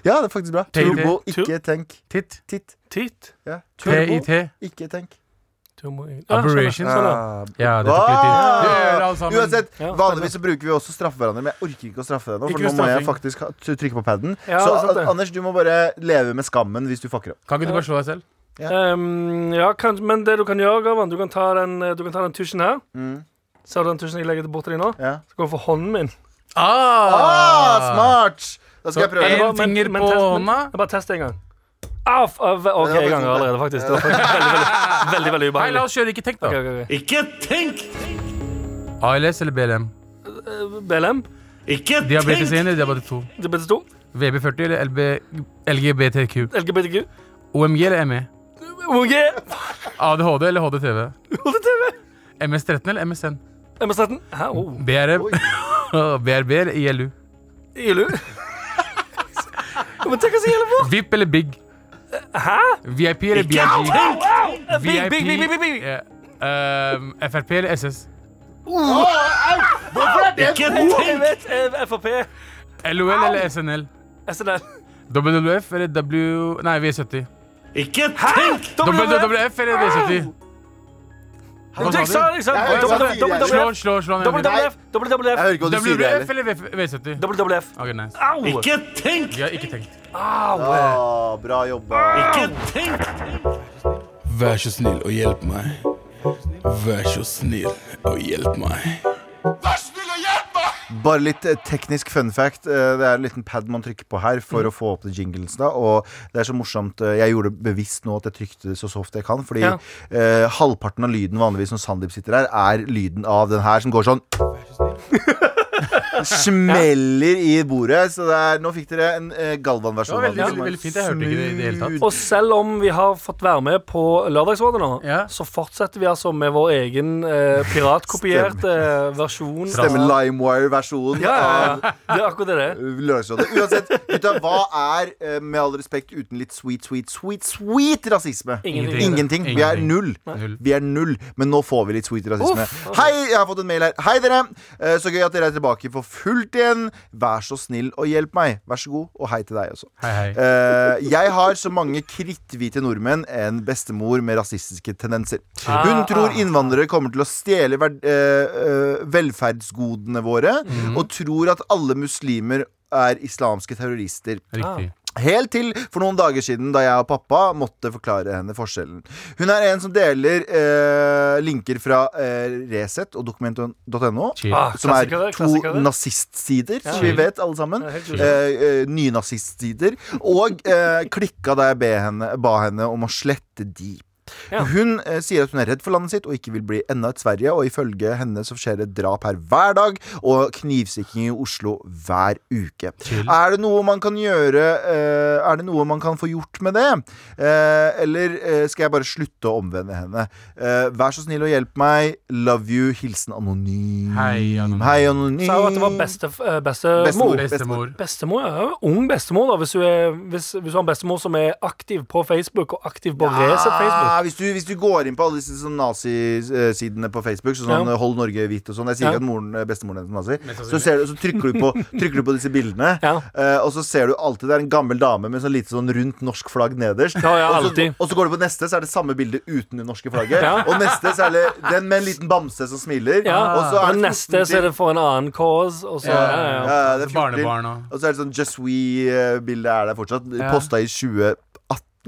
D: Ja, det er faktisk bra.
C: Tenk-
D: Turbo,
B: tenk-
D: ikke tenk.
C: Titt.
D: Titt.
B: Titt.
D: Ja. Turbo,
C: T-I-T.
D: ikke tenk.
B: Turbo. Ja,
C: Aberration,
B: skjønner. Skjønner.
D: Ah,
C: Ja, det tok litt tid. Du gjør det alle
D: Ah!
C: sammen.
D: Uansett,
B: Ja,
D: vanligvis så bruker vi også straffe hverandre, men jeg orker ikke å straffe deg nå,
C: Ikke
D: for
C: noe
D: nå må jeg
C: straffing.
D: faktisk ha, t- trykke på paden.
B: Ja,
D: så
B: det er sant det.
D: An- Anders, du må bare leve med skammen hvis du fucker opp.
C: Kan ikke du bare slå deg selv?
B: Ehm, ja, kan, men det du kan gjøre, Gavan, du kan ta den, eh, du kan ta den tusjen her.
D: Mm.
B: Ser du den tusjen jeg legger borti deg nå?
D: Ja.
B: Så går den for hånden min.
D: Ah, smart! Da
C: Så
D: skal jeg prøve.
C: En
B: Men det var-
C: finger på
B: test-
C: hånda.
B: Jeg bare tester en gang. Au, f- au, ve- OK,
D: Det var
B: en gang
D: faktisk-
B: allerede, faktisk. Det var faktisk veldig, veldig, veldig, veldig
C: Hei,
B: ubehagelig.
C: la oss kjøre ikke tenk, da.
B: Ok, ok, ok.
E: Ikke tenk!
C: ALS eller BLM?
B: BLM,
E: Ikke
C: Diabetes 1
E: tenk!
C: eller diabetes 2?
B: diabetes 2,
C: VB40 eller LB, LGBTQ?
B: LGBTQ,
C: OMG eller E? ME?
B: OG,
C: ADHD eller HDTV?
B: HDTV,
C: MS13 eller MSN?
B: MS13 Hæ? Oh.
C: BRM? BRB eller ILU?
B: ILU? Men tenk hva som gjelder for
C: VIP eller BIG?
B: Hæ?
C: VIP eller BIG?
B: Big, big, big, big, big, big.
C: Ja. Ehm, Frp eller SS?
E: Ikke tenk!
B: Jeg vet, eh, Frp
C: LOL eller SNL?
B: SNL.
C: WWF eller W... Nei, V70.
E: Ikke tenk!
C: WWF eller V70. Hva
B: Jeg sa
C: sa
B: det,
C: du?
B: jeg sa
D: Jeg har jo sagt
B: det.
D: tidligere.
C: Slå,
B: WWF,
C: slå, slå. ned.
B: WWF, WWF,
D: Jeg hører ikke hva du sier
C: WWF
D: heller.
C: eller V70?
B: WWF.
C: Ok, nice.
B: Au!
E: Ikke tenk!
C: Vi har ikke tenkt.
B: Au!
D: Ah, bra jobba.
E: Ikke tenk!
F: Vær så snill og hjelp meg. Vær så snill og hjelp meg.
D: Bare litt eh, teknisk fun fact. Eh, Det er en liten pad man trykker på her
C: Mm.
D: for å få opp de jingles. da Og det er så morsomt. eh, Jeg gjorde det bevisst nå at jeg trykte det så soft jeg kan. Fordi
B: Ja.
D: eh, halvparten av lyden vanligvis når Sandeep sitter her, er lyden av den her som går sånn. Smeller i bordet. Så det er, nå fikk dere en eh, Galvan-versjon.
C: Det var veldig-
D: av den som
C: veldig-
D: er
C: veldig fint. Jeg hørte ikke det i det hele tatt.
D: smooth.
B: Og selv om vi har fått være med på Lørdagsrådet nå,
C: Ja.
B: så fortsetter vi altså med vår egen eh, piratkopierte eh, versjon.
D: Stemmer LimeWire-versjonen
B: Ja, ja,
D: av
B: ja. Det er akkurat det.
D: Lørdagsrådet. Uansett, gutta, hva er, eh, med all respekt, uten litt sweet, sweet, sweet, sweet rasisme?
B: Ingenting.
D: Ingenting. Vi er
C: Ingenting.
D: null.
C: Null.
D: Vi er null, men nå får vi litt sweet rasisme. Hei, jeg har fått en mail her. Hei, dere. Eh, Så gøy at dere er tilbake for fullt igjen. Vær så snill og hjelp meg. Vær så god, og hei til deg også.
C: Hei, hei.
D: Eh, jeg har som mange kritthvite nordmenn en bestemor med rasistiske tendenser.
C: Ah.
D: Hun tror innvandrere kommer til å stjele verd, eh, eh, velferdsgodene våre,
C: Mm.
D: og tror at alle muslimer er islamske terrorister.
C: Riktig.
D: Helt til for noen dager siden da jeg og pappa måtte forklare henne forskjellen. Hun er en som deler eh, linker fra eh, Resett og dokument.no.
C: Chill.
B: Ah,
D: Som er
B: klassikere,
D: to
B: klassikere.
D: nazistider, som vi
C: Chill.
D: vet alle sammen.
B: Ja, helt
D: Eh,
B: chill.
D: eh, Nynazistsider. Og eh, klikka da jeg be henne, ba henne om å slette de.
B: Ja.
D: Hun eh, sier at hun er redd for landet sitt og ikke vil bli enda et Sverige. Og ifølge henne så skjer det drap her hver dag og knivstikking i Oslo hver uke. Er det noe man kan gjøre eh, Er det noe man kan få gjort med det? Eh, eller eh, skal jeg bare slutte å omvende henne? Eh, vær så snill og hjelp meg. Love you. Hilsen Anonym.
C: Hei, Anonym.
D: Hei, anonym.
B: Sa jo at det var beste, eh, bestemor.
D: Bestemor.
C: Bestemor.
B: Bestemor, ja. Ung bestemor, da. Hvis du, er, hvis, hvis du har en bestemor som er aktiv på Facebook, og aktiv på Resett Facebook.
D: Ah, hvis, du, hvis du går inn på alle disse sånn nazisidene på Facebook, sånn
B: Ja.
D: eh, 'Hold Norge hvitt' og sånn Jeg sier
B: Ja.
D: ikke at moren, eh, bestemoren hennes er nazi. Så,
C: sannsynlig.
D: ser du, så trykker, du på, trykker du på disse bildene,
B: Ja.
D: eh, og så ser du alltid det er en gammel dame med sånn lite sånn rundt norsk flagg nederst.
B: Ja, ja,
D: og, så,
B: alltid.
D: og så går du på neste, så er det samme bilde uten det norske flagget.
B: Ja.
D: Og neste så er det den med en liten bamse som smiler.
B: Ja.
D: Og så er det
B: neste så er det for en annen cause, og så ja, ja, ja.
D: ja, det er 14 til.
C: Barnebarn og
D: Og så er det sånn Just We-bildet er der fortsatt. Posta i 2018.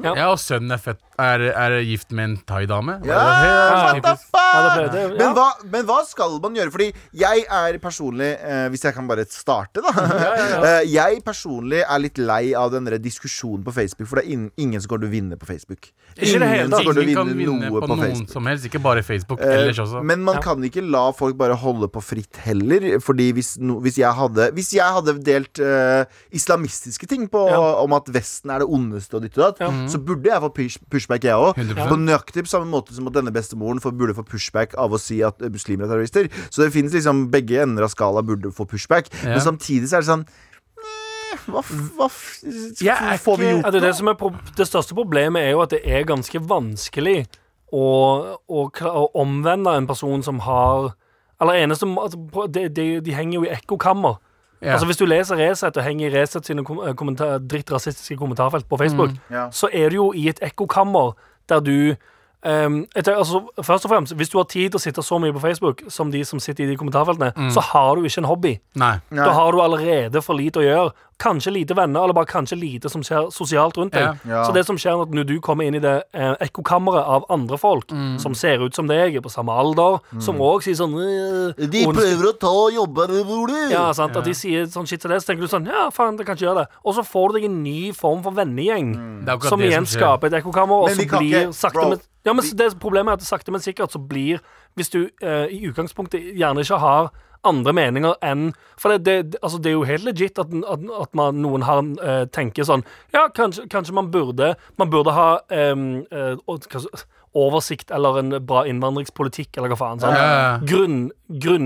C: Ja, og sønnen er født Er, er gift med en thaidame.
D: Ja,
C: Helt
D: what the
C: typisk.
D: fuck?
B: Ja, det ble det, ja.
D: men, hva, men hva skal man gjøre? Fordi jeg er personlig eh, Hvis jeg kan bare starte, da. Eh, jeg personlig er litt lei av den der diskusjonen på Facebook, for det er ingen, ingen som kommer til å vinne på Facebook.
B: Ikke i det hele
D: Ingen
B: tatt.
D: som kommer til
C: Ingen
D: å
C: kan vinne på, noen som helst, ikke bare Facebook.
D: Eh,
C: ellers også
D: Men man kan ikke la folk bare holde på fritt heller. Fordi hvis, no, hvis, jeg, hadde, hvis jeg hadde delt eh, islamistiske ting på,
B: Ja.
D: om at Vesten er det ondeste og ditt og datt,
C: Mm.
D: så burde jeg få push, pushback, jeg òg.
C: 100%.
D: På nøyaktig på samme måte som at denne bestemoren får- burde få pushback av å si at eh, muslimer er terrorister. Så det finnes liksom begge ender av skala burde få pushback.
C: Ja.
D: Men samtidig så er det sånn eh, hva, f- hva f-
C: Jeg er
D: får vi
C: ikke-
D: gjort?
B: Ja, det, er det, som er pro det største problemet er jo at det er ganske vanskelig å, å, kla- å omvende en person som har Eller eneste må- altså, på- de, de, de henger jo i ekkokammer.
C: Ja.
B: Altså Hvis du leser Resett og henger i Resett sine kom kommentar drittrasistiske kommentarfelt på Facebook,
C: Mm.
D: Ja.
B: så er du jo i et ekkokammer der du ehm, etter, altså, Først og fremst, hvis du har tid til å sitte så mye på Facebook som de som sitter i de kommentarfeltene,
C: Mm.
B: så har du ikke en hobby.
C: Nei.
D: Nei.
B: Da har du allerede for lite å gjøre. Kanskje lite venner, eller bare kanskje lite som skjer sosialt rundt deg.
D: Ja. Ja.
B: Så det som skjer når du kommer inn i det eh, ekkokammeret av andre folk
D: Mm.
B: som ser ut som deg, er på samme alder, som òg sier sånn øh,
D: De
B: ond-
D: prøver å ta jobber, broder.
B: ja, sant? At de sier sånn shit til deg, så tenker du sånn Ja, faen, det kan ikke gjøre det. Og så får du deg en ny form for vennegjeng,
C: Mm. Det er akkurat
B: som
C: det som
B: igjen
C: skjer.
B: skaper et ekkokammer, og
D: Men
B: så
D: vi kan
B: blir
D: ikke-
B: sakte
D: bro,
B: men Ja, men
D: vi-
B: det problemet er at sakte, men sikkert så blir Hvis du eh, i utgangspunktet gjerne ikke har andre meninger enn For det, det, det- altså, det er jo helt legit at, at, at man, noen har, eh, tenker sånn Ja, kanskje, kanskje man burde Man burde ha em, eh, å- hva så- oversikt eller en bra innvandringspolitikk, eller hva faen. sånn. sant?
C: Ja.
B: grunn,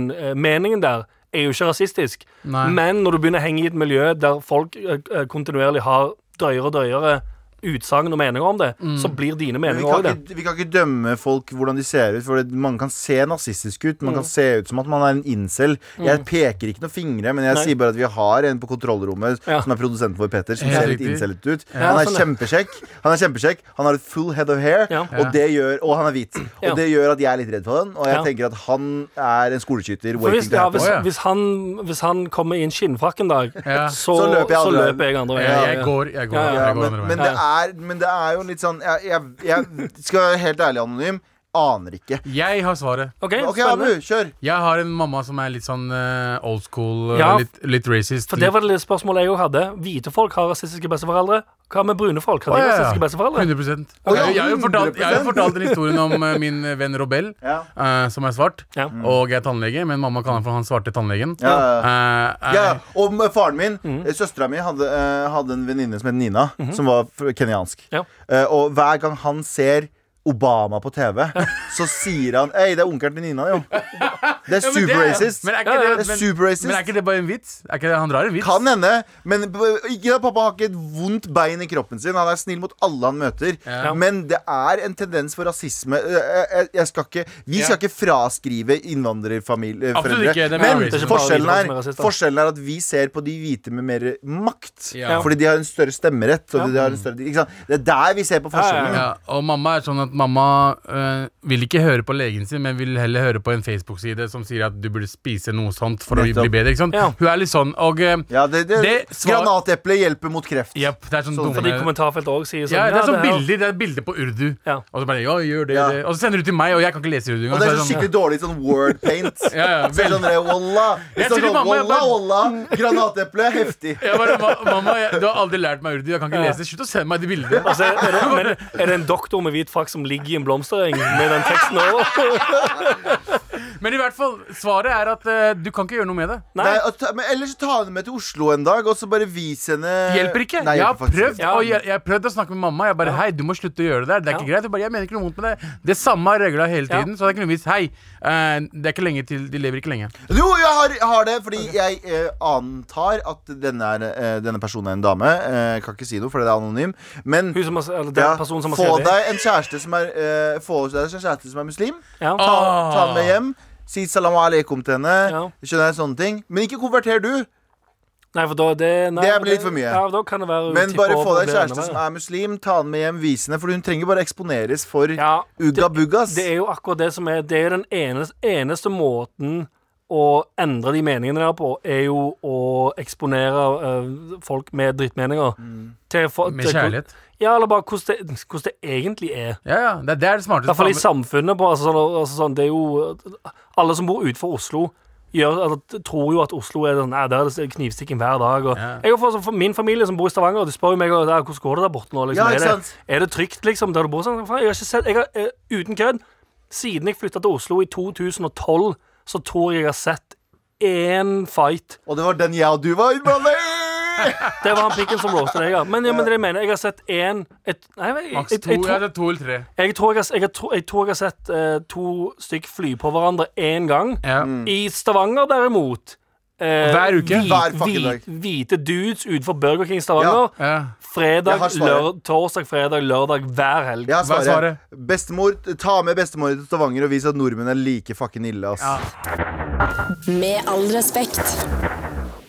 B: grunnmeningen der er jo ikke rasistisk.
C: Nei.
B: Men når du begynner å henge i et miljø der folk eh, eh, kontinuerlig har drøyere og drøyere utsagn og meninger om det,
C: Mm.
B: så blir dine
D: Men Vi
B: meninger
D: kan,
B: òg det.
D: ikke, vi kan ikke dømme folk hvordan de ser ut, for det- man kan se nazistisk ut. Man kan
B: Mm.
D: se ut som at man er en incel. Jeg peker ikke noen fingre, men jeg
B: Nei.
D: sier bare at vi har en på kontrollrommet
B: Ja.
D: som er produsenten vår, Peter, som
C: Helt
D: ser litt
C: riktig.
D: incellet ut.
B: Ja,
D: Han er
B: sånn det.
D: kjempekjekk. Han er kjempekjekk Han har et full head of hair,
B: Ja.
D: og, det gjør, og han er hvit.
B: Ja.
D: Og det gjør at jeg er litt redd for han, og jeg
B: Ja.
D: tenker at han er en skoleskyter.
B: For
D: waiting
B: hvis,
D: to
B: ja,
D: happen.
B: hvis,
C: Å, ja.
B: hvis, han, hvis han kommer i en skinnfrakk en dag,
C: Ja.
B: så,
D: Så løper jeg
B: så
D: andre veien.
B: løper jeg andre veien.
C: Jeg, jeg går, jeg går,
B: Ja, ja,
D: Ja,
C: jeg går
D: men,
C: andre
D: men,
C: veien.
D: det er, men det er jo litt sånn Jeg, jeg, jeg skal være helt ærlig anonym. Aner ikke.
C: Jeg har svaret.
B: OK,
D: OK, Abu,
B: spennende.
D: kjør.
C: Jeg har en mamma som er litt sånn eh, old school, eh,
B: Ja.
C: litt, litt racist.
B: For det var det lille spørsmålet jeg òg hadde. Hvite folk har rasistiske besteforeldre. Hva med brune folk? Har
C: Å,
B: de
C: ja, ja.
B: rasistiske besteforeldre?
C: 100
D: Å, ja,
C: jeg, jeg, har jo fortalt, jeg har jo
D: 100%.
C: fortalt den historien om eh, min venn Robel,
D: Ja.
C: eh, som er svart,
B: Ja.
C: og jeg er tannlege, men mamma kaller han for han svarte tannlegen.
D: Ja, ja,
C: Eh, eh,
D: Ja, og med faren min, mm. søstera mi, hadde, eh, hadde en venninne som het Nina, som var f- kenyansk.
B: Ja.
D: Eh, og hver gang han ser Obama på TV, så sier han Ei, det er onkelen til Nina, jo. Det er
C: Ja, men det er-
D: super-racist.
C: Men er
B: Ja, ja.
C: ikke det,
D: Det er
C: men-
D: super-racist.
C: Men er ikke det bare en vits? Er ikke det, han drar en vits.
D: Kan hende, men b- ikke da, pappa har ikke et vondt bein i kroppen sin. Han er snill mot alle han møter.
C: Ja.
D: Men det er en tendens for rasisme. Eh, eh, eh, Jeg skal ikke, vi skal
C: Ja.
D: ikke fraskrive innvandrerforeldre.
C: Absolutt ikke, det er
D: men
C: bare racisme.
D: forskjellen
B: Det er ikke bare hvite folk som er
D: er,
B: rasister.
D: forskjellen er at vi ser på de hvite med mer makt.
C: Ja.
D: Fordi de har en større stemmerett. Og
B: Ja.
D: de har en større, ikke sant? Det er der vi ser på forskjellen.
C: Ja, og mamma er sånn at mamma øh, vil ikke høre på legen sin, men vil heller høre på en Facebook-side som sier at du burde spise noe sånt for å
D: Nettopp.
C: bli bedre. ikke sant?
B: Ja.
C: Hun er litt sånn, og øh,
D: Ja, det, det,
C: Det svar-
D: Granateple hjelper mot kreft.
C: Jepp, det er sånn
D: Sånn,
C: dumme
B: Fordi kommentarfeltet òg sier sånn.
C: ja, det er sånn
B: her-
C: bilder, det er bilder på urdu.
B: Ja.
C: Og så bare ja, gjør det,
D: Ja.
C: det. Og så sender du til meg, og jeg kan ikke lese urdu engang.
D: Og det
C: så
D: er så
C: jeg
D: skikkelig dårlig sånn word paint.
C: Ja, ja,
D: Så er det sånn, der, Walla, Det
C: Jeg
D: står
C: tror
D: sånn,
C: mamma er
D: walla,
C: bare-
D: walla, granateple, heftig.
C: jeg bare, "Ma- Mamma, jeg, du har aldri lært meg urdu. Jeg kan ikke lese. Slutt å sende meg de bildene.
B: Altså, er, det, men, er det en doktor med hvit frakk som ligger i en blomstereng med den teksten over?
C: Men i hvert fall, svaret er at øh, du kan ikke gjøre noe med det.
B: Nei.
D: Nei, og ta, men ellers ta henne med til Oslo en dag, og så bare vis henne
C: Hjelper ikke.
D: Eh, Nei,
C: jeg har
D: hjelper faktisk
C: prøvd
D: ikke.
B: Ja,
C: og jeg, jeg har prøvd å snakke med mamma. Jeg bare Hei, du må slutte å gjøre det der. Det er ikke
B: Ja.
C: greit. Hun bare, jeg mener ikke noe vondt med det. Det samme er regla hele
B: Ja.
C: tiden. Så det er ikke noe vits. Hei, eh, det er ikke lenge til De lever ikke lenge.
D: Jo, jeg har, jeg har det, fordi jeg eh, antar at denne, er, eh, denne personen er en dame. Eh, kan ikke si noe, for det er anonym. Men
B: Hun som har, eller den
D: ja,
B: personen som har
D: få
B: skrevet det.
D: deg en kjæreste som er eh, Få deg en kjæreste som er muslim.
B: Ja.
D: Ta,
C: Ah.
D: ta henne med hjem. Si salam aleikum til henne.
B: Ja.
D: Skjønner jeg sånne ting Men ikke konverter du.
B: Nei, for da det, nei,
D: Det
B: for
D: blir litt for mye.
B: Ja, da kan det være
D: Men
B: tippe
D: bare
B: over
D: få
B: og
D: deg
B: bli
D: en kjæreste
B: enda
D: som
B: verre.
D: er muslim. Ta henne med hjem visende, for hun trenger bare eksponeres for
B: ja,
D: ugga buggas.
B: Det er jo akkurat det som er Det er den eneste, eneste måten å endre de meningene der på, er jo å eksponere øh, folk med drittmeninger.
D: Mm.
B: Til for,
C: Med kjærlighet.
B: Ja, eller bare hvordan det, hvordan det egentlig er.
C: Ja, ja. Det er det, er det
B: I hvert fall i
C: smarteste.
B: samfunnet. På, altså, sånn, altså, sånn, det er jo Alle som bor utenfor Oslo, gjør, altså, tror jo at Oslo er sånn, nei, der er det knivstikking hver dag. Og,
C: Ja.
B: jeg, har fått- for min familie som bor i Stavanger, og de spør jo meg der, hvordan går det der borte nå.
D: Ja,
B: Liksom,
D: ikke
B: er,
D: sant?
B: det, er det trygt, liksom, der du bor? Sånn, faen, jeg har ikke sett jeg har, eh, Uten kødd, siden jeg flytta til Oslo i 2012, så tror jeg jeg har sett én fight.
D: Og det var den jeg og du var innblanda i!
B: Det var han pikken som blåste deg, ja. Men, ja, men det jeg mener, jeg har sett én et- Nei, jeg, jeg,
C: Maks
B: jeg,
C: to.
B: jeg, tror-
C: Ja, det er to eller tre.
B: jeg tror jeg, har- jeg, har tro- jeg, tror jeg har sett eh, to stykk fly på hverandre én gang.
C: Ja.
D: Mm.
B: I Stavanger, derimot eh,
C: Hver uke.
B: hvit-
D: Hver fucking dag.
B: hvit- Hvite dudes utenfor Burger King Stavanger.
C: Ja.
D: Jeg har
B: Fredag,
D: svaret.
B: lør, torsdag, fredag, lørdag, hver helg.
D: Jeg har
C: Hva er
D: svaret. Bestemor, ta med bestemor til Stavanger og vis at nordmenn er like fucking ille. ass
C: Ja.
A: Med all respekt.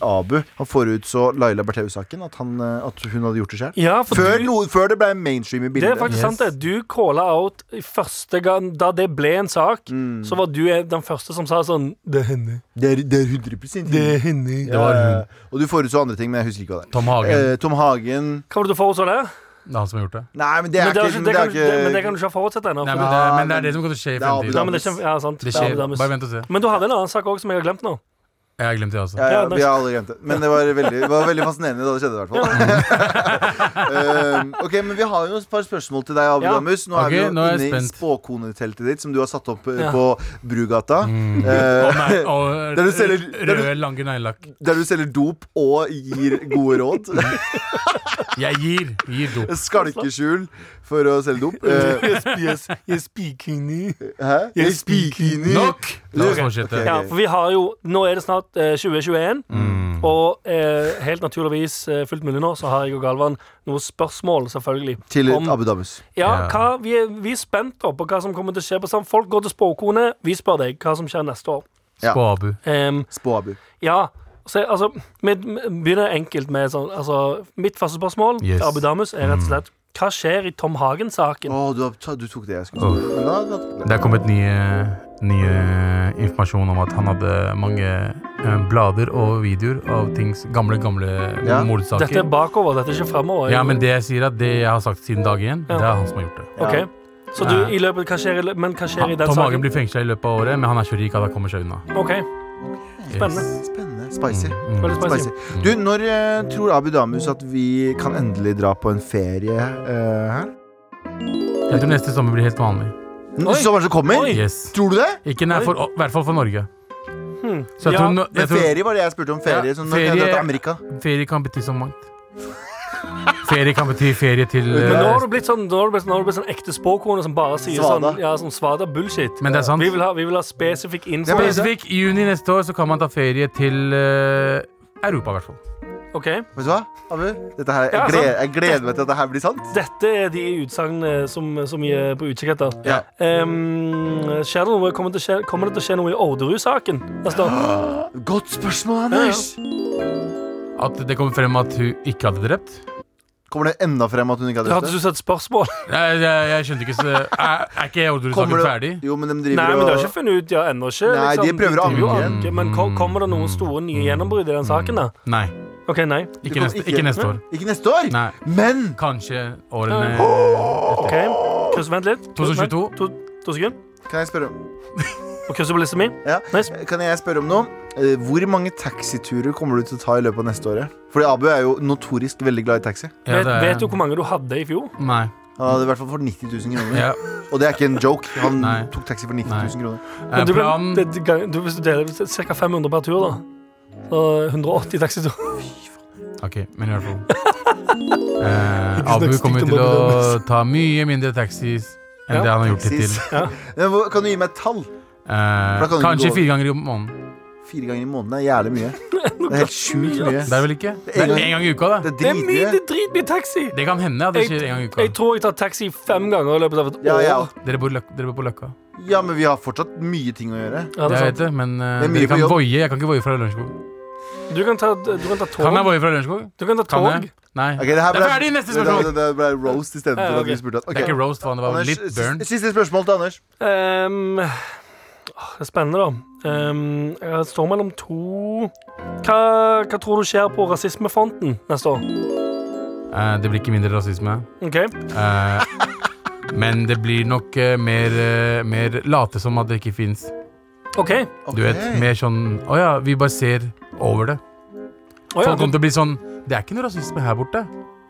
D: Abu han forutså Laila Bertheu-saken, at, han, eh, at hun hadde gjort det sjøl.
B: Ja, for
D: Før,
B: du-
D: noe- før det ble mainstream i
B: Det
D: bildet.
B: er faktisk sant, det. Du calla out i første gang da det ble en sak.
D: Mm.
B: Så var du en- den første som sa sånn Det er henne.
D: Det er, det er 100
B: henne.
D: Det var hun. Og du forutså andre ting, men jeg husker ikke hva det er.
C: Tom Hagen.
D: Eh, Tom Hagen
B: Hva var det du forutså der?
C: Det er han som har gjort det.
D: Nei, men det er
B: Men det, har ikke-
D: ikke men det
B: det
D: er
B: kan- det- men det kan
D: ikke-
B: du ikke ha forutsett ennå.
C: Nei,
B: for
C: men
B: det-
C: det, men
D: Ja,
C: det
D: men-
C: er det som kommer til å skje i
D: Det er Abu
B: Nei,
C: fremtiden.
D: Dhabi.
B: men det er ikke- ja, sant.
C: Det
B: er
C: skjer.
B: Abu Dhabis.
C: Bare vent og se.
B: Men du hadde en annen sak òg som jeg har glemt nå.
C: Jeg har glemt det også.
D: ja, ja,
B: Ja, nice.
D: Vi har alle glemt det. Men det var veldig, det var veldig fascinerende da det skjedde, i hvert fall. Eh, ok, men vi har jo et par spørsmål til deg, Abu
B: Ja.
D: Damus. Nå er
C: Ok,
D: vi jo
C: nå er jeg
D: inne i
C: spent.
D: spåkoneteltet ditt, som du har satt opp eh,
B: Ja.
D: på Brugata.
C: Å,
D: Eh,
C: nei, å,
D: Der du selger- der du-
C: Røde, lange neglelakk.
D: Der du selger dop og gir gode råd.
C: Jeg gir. Gir dop.
D: Skalkeskjul for å selge dop. Eh,
B: Jeg spiker inn i
D: Hæ? Jeg spiker inn i
C: Nok! La oss fortsette.
D: Ok.
B: Ja, for vi har jo Nå er det snart eh, 2021.
C: Mm.
B: Og eh, helt naturligvis, eh, fullt mulig nå, så har jeg og Galvan noen spørsmål, selvfølgelig.
D: Til
B: om-
D: Abu Dhabis.
B: ja,
C: Ja.
B: hva, vi, er, vi er spent da på hva som kommer til å skje. på samt. Folk går til spåkone. Vi spør deg hva som skjer neste år.
D: Ja.
C: På Abu.
B: Em,
D: Spå Abu.
B: ja, så, altså, vi vi begynner enkelt med sånn altså, Mitt første spørsmål
C: Yes. Mm.
B: til Abu Damus er rett og slett hva skjer i Tom Hagen-saken?
D: Å, du, har- du tok det jeg skulle si. Men da- da-
C: Det er kommet nye, nye informasjon om at han hadde mange eh, blader og videoer av tings, gamle, gamle
D: Ja.
C: mordsaker.
B: Dette er bakover, dette er ikke fremover.
C: Ja, men det jeg sier at det jeg har sagt siden dag én,
B: Ja.
C: det er han som har gjort det.
B: Ok. Så du, i løpet, hva skjer, i lø- men hva skjer i den
C: Tom
B: saken?
C: Hagen blir fengsla i løpet av året, men han er så rik at han kommer seg unna.
B: Ok, Spennende.
D: Spennende. Spicy.
B: veldig
D: Spicy.
B: spesielt.
D: Du, når eh, tror Abu Damus at vi kan endelig dra på en ferie eh, her?
C: Jeg tror neste sommer blir helt vanlig.
B: Oi.
D: Sommeren som kommer?
B: Oi.
C: Yes.
D: Tror du det?
C: Ikke nær for, I hvert fall for Norge. Så jeg
B: hm. Ja,
C: tror, no- jeg
D: Men
C: tror
D: ferie var det jeg spurte om. Ferie,
C: Ja,
D: så når kan jeg dra
C: ferie-
D: til Amerika?
C: ferie kan bety så mangt. Ferie kan bety ferie til
B: Men nå har
C: eh,
B: du blitt sånn, nå har du blitt, nå har du blitt sånn ekte spåkone som bare sier
D: Svada.
B: sånn Ja, sånn svada bullshit.
C: Men det er sant.
B: Vi vil ha, vi vil ha spesifikk info.
D: Ja, men-
C: Spesifikk i juni neste år så kan man ta ferie til eh, Europa, i hvert fall.
B: Ok,
D: Vet du hva, Abu? Dette her,
B: Ja,
D: jeg, gleder, jeg gleder meg til at dette her blir sant.
B: Dette er de utsagnene som, som vi er på utkikk etter.
D: Ja.
B: Ehm, skjer det noe, kommer, det til å skje, kommer det til å skje noe i Orderud-saken Altså, neste år?
D: Godt spørsmål, Anders.
C: At det kommer frem at hun ikke hadde drept.
D: Kommer det enda frem at hun ikke har drept
B: Hørtes ut som et spørsmål.
C: Jeg, jeg, jeg skjønte ikke så Er, er ikke Orderud-saken ferdig?
D: Jo, men de
B: Nei,
D: driver
B: men det har ikke
D: og
B: funnet ut ja, ennå. Ikke,
D: Nei, de prøver å
B: driver jo
D: anke.
B: og Men ko- kommer det noen store nye gjennombrudd i den saken? da?
C: Nei.
B: Ok, nei.
C: Ikke
D: kommer
C: neste,
D: ikke-
C: ikke neste år.
D: Ikke neste år,
C: Nei.
D: men
C: Kanskje årene
B: Ok, Kryss, Vent litt. Kryss-
C: 2022.
B: vent. To, to sekunder.
D: Kan jeg spørre om
B: Og krysset på lista mi.
D: ja.
B: Nice.
D: Kan jeg spørre om noe? Eh, Hvor mange taxiturer kommer du til å ta i løpet av neste året? Fordi Abu er jo notorisk veldig glad i taxi.
C: Ja,
B: vet,
C: det er-
B: vet du hvor mange du hadde i fjor?
C: Nei.
D: Han hadde i hvert fall for 90 000 kroner.
C: Ja.
D: Og det er ikke en joke. Han
C: Nei.
D: tok taxi for 90
C: Nei.
D: 000 kroner.
C: Eh,
B: du,
C: Planen
B: det, det, gang- du, hvis du deler ca. 500 per tur, da. Så 180 taxiturer.
C: Ok, men i hvert fall. Eh, Abu
B: stygt
C: kommer
B: om Abu
C: til å ta mye mindre taxis enn
B: Ja,
C: det han har gjort hittil.
D: Taxis. Men hvor- Kan du gi meg et tall?
C: Eh,
D: da kan du ikke
C: kanskje
D: gå-
C: fire ganger i måneden.
D: Fire ganger i måneden er jævlig mye. Det er helt sjukt mye.
C: Det er vel ikke? Det er
D: gang-
C: én gang i uka, det.
D: Det er
B: Det er mye
D: dritmye.
B: det er dritmye taxi!
C: Det kan hende at det skjer en gang i uka.
B: Jeg tror jeg tar taxi fem ganger i løpet av et år.
D: Ja, ja.
C: Dere bor, løk, dere bor på Løkka.
D: ja, men vi har fortsatt mye ting å gjøre.
B: Ja, det
C: Jeg
B: er sant.
C: vet det, men eh,
D: Det er mye
C: dere
D: på
C: kan
D: jobb.
C: voie. Jeg kan ikke voie fra Lørenskog.
B: Du kan ta, du kan ta tog.
C: Kan jeg voie fra Lørenskog?
B: Du kan ta
C: Kan
B: tog.
C: jeg? Nei.
D: Ok, det, her
C: Det er ferdig, neste spørsmål.
D: Det, det, det ble roast istedenfor
B: Ja,
D: for
B: ok.
D: at vi spurte.
C: Det er ikke
D: Okay.
C: roast, faen. Det var
D: Anders,
C: litt burn.
D: siste- siste spørsmål til Anders.
B: Ehm, åh, det er spennende, da. Ehm, jeg står mellom to hva, hva tror du skjer på rasismefronten neste år?
C: Eh, det blir ikke mindre rasisme.
B: Ok,
C: Eh, men det blir nok eh, mer, eh, mer late som at det ikke fins.
B: ok
C: Du vet,
D: Ok.
C: Mer sånn Å ja, vi bare ser over det.
B: Å ja,
C: Folk kommer
B: det,
C: til å bli sånn Det er ikke noe rasisme her borte.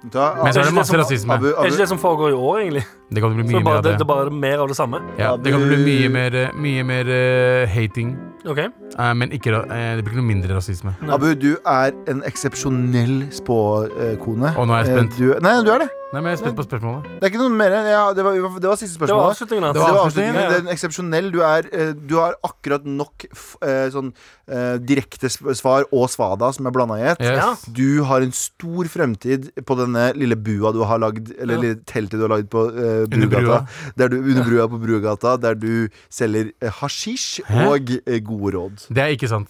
D: Da,
C: Men så
B: det
C: er
B: ikke
C: det masse
B: det som-
C: rasisme.
D: Abu,
B: Er ikke
D: Abu,
B: det som foregår i år, egentlig?
C: Det kommer til å bli
B: Så
C: mye
B: bare,
C: mer av
B: det, det er
C: det.
B: bare mer av det samme?
C: Ja, det kommer til å bli mye mer, eh, mye mer eh, hating.
B: Ok,
C: Eh, men ikke, ra- eh, det blir ikke noe mindre rasisme.
D: Abu, du er en eksepsjonell spåkone. Eh,
C: Å, nå er jeg spent.
D: Du, nei, du er det.
C: Nei, men Jeg er spent på spørsmålet.
D: Det er ikke noe mer. Ja, det, var, det var siste
B: Det var
D: spørsmål. da.
B: avslutningen.
D: Det
B: Altså.
D: var
C: avslutningen,
D: avslutningen.
B: ja.
D: Den eksepsjonell. Du, er, eh, du har akkurat nok f, eh, sånn eh, direkte sp- svar og svada som er blanda i ett.
C: Yes.
D: Du har en stor fremtid på denne lille bua du har lagd Eller
B: Ja.
D: lille teltet du har lagd på eh,
C: Under
D: Brugata.
C: brua.
D: Der du, under brua på Brugata, der du selger eh, hasjisj
C: Hæ?
D: og eh, gode råd.
C: Det er ikke sant.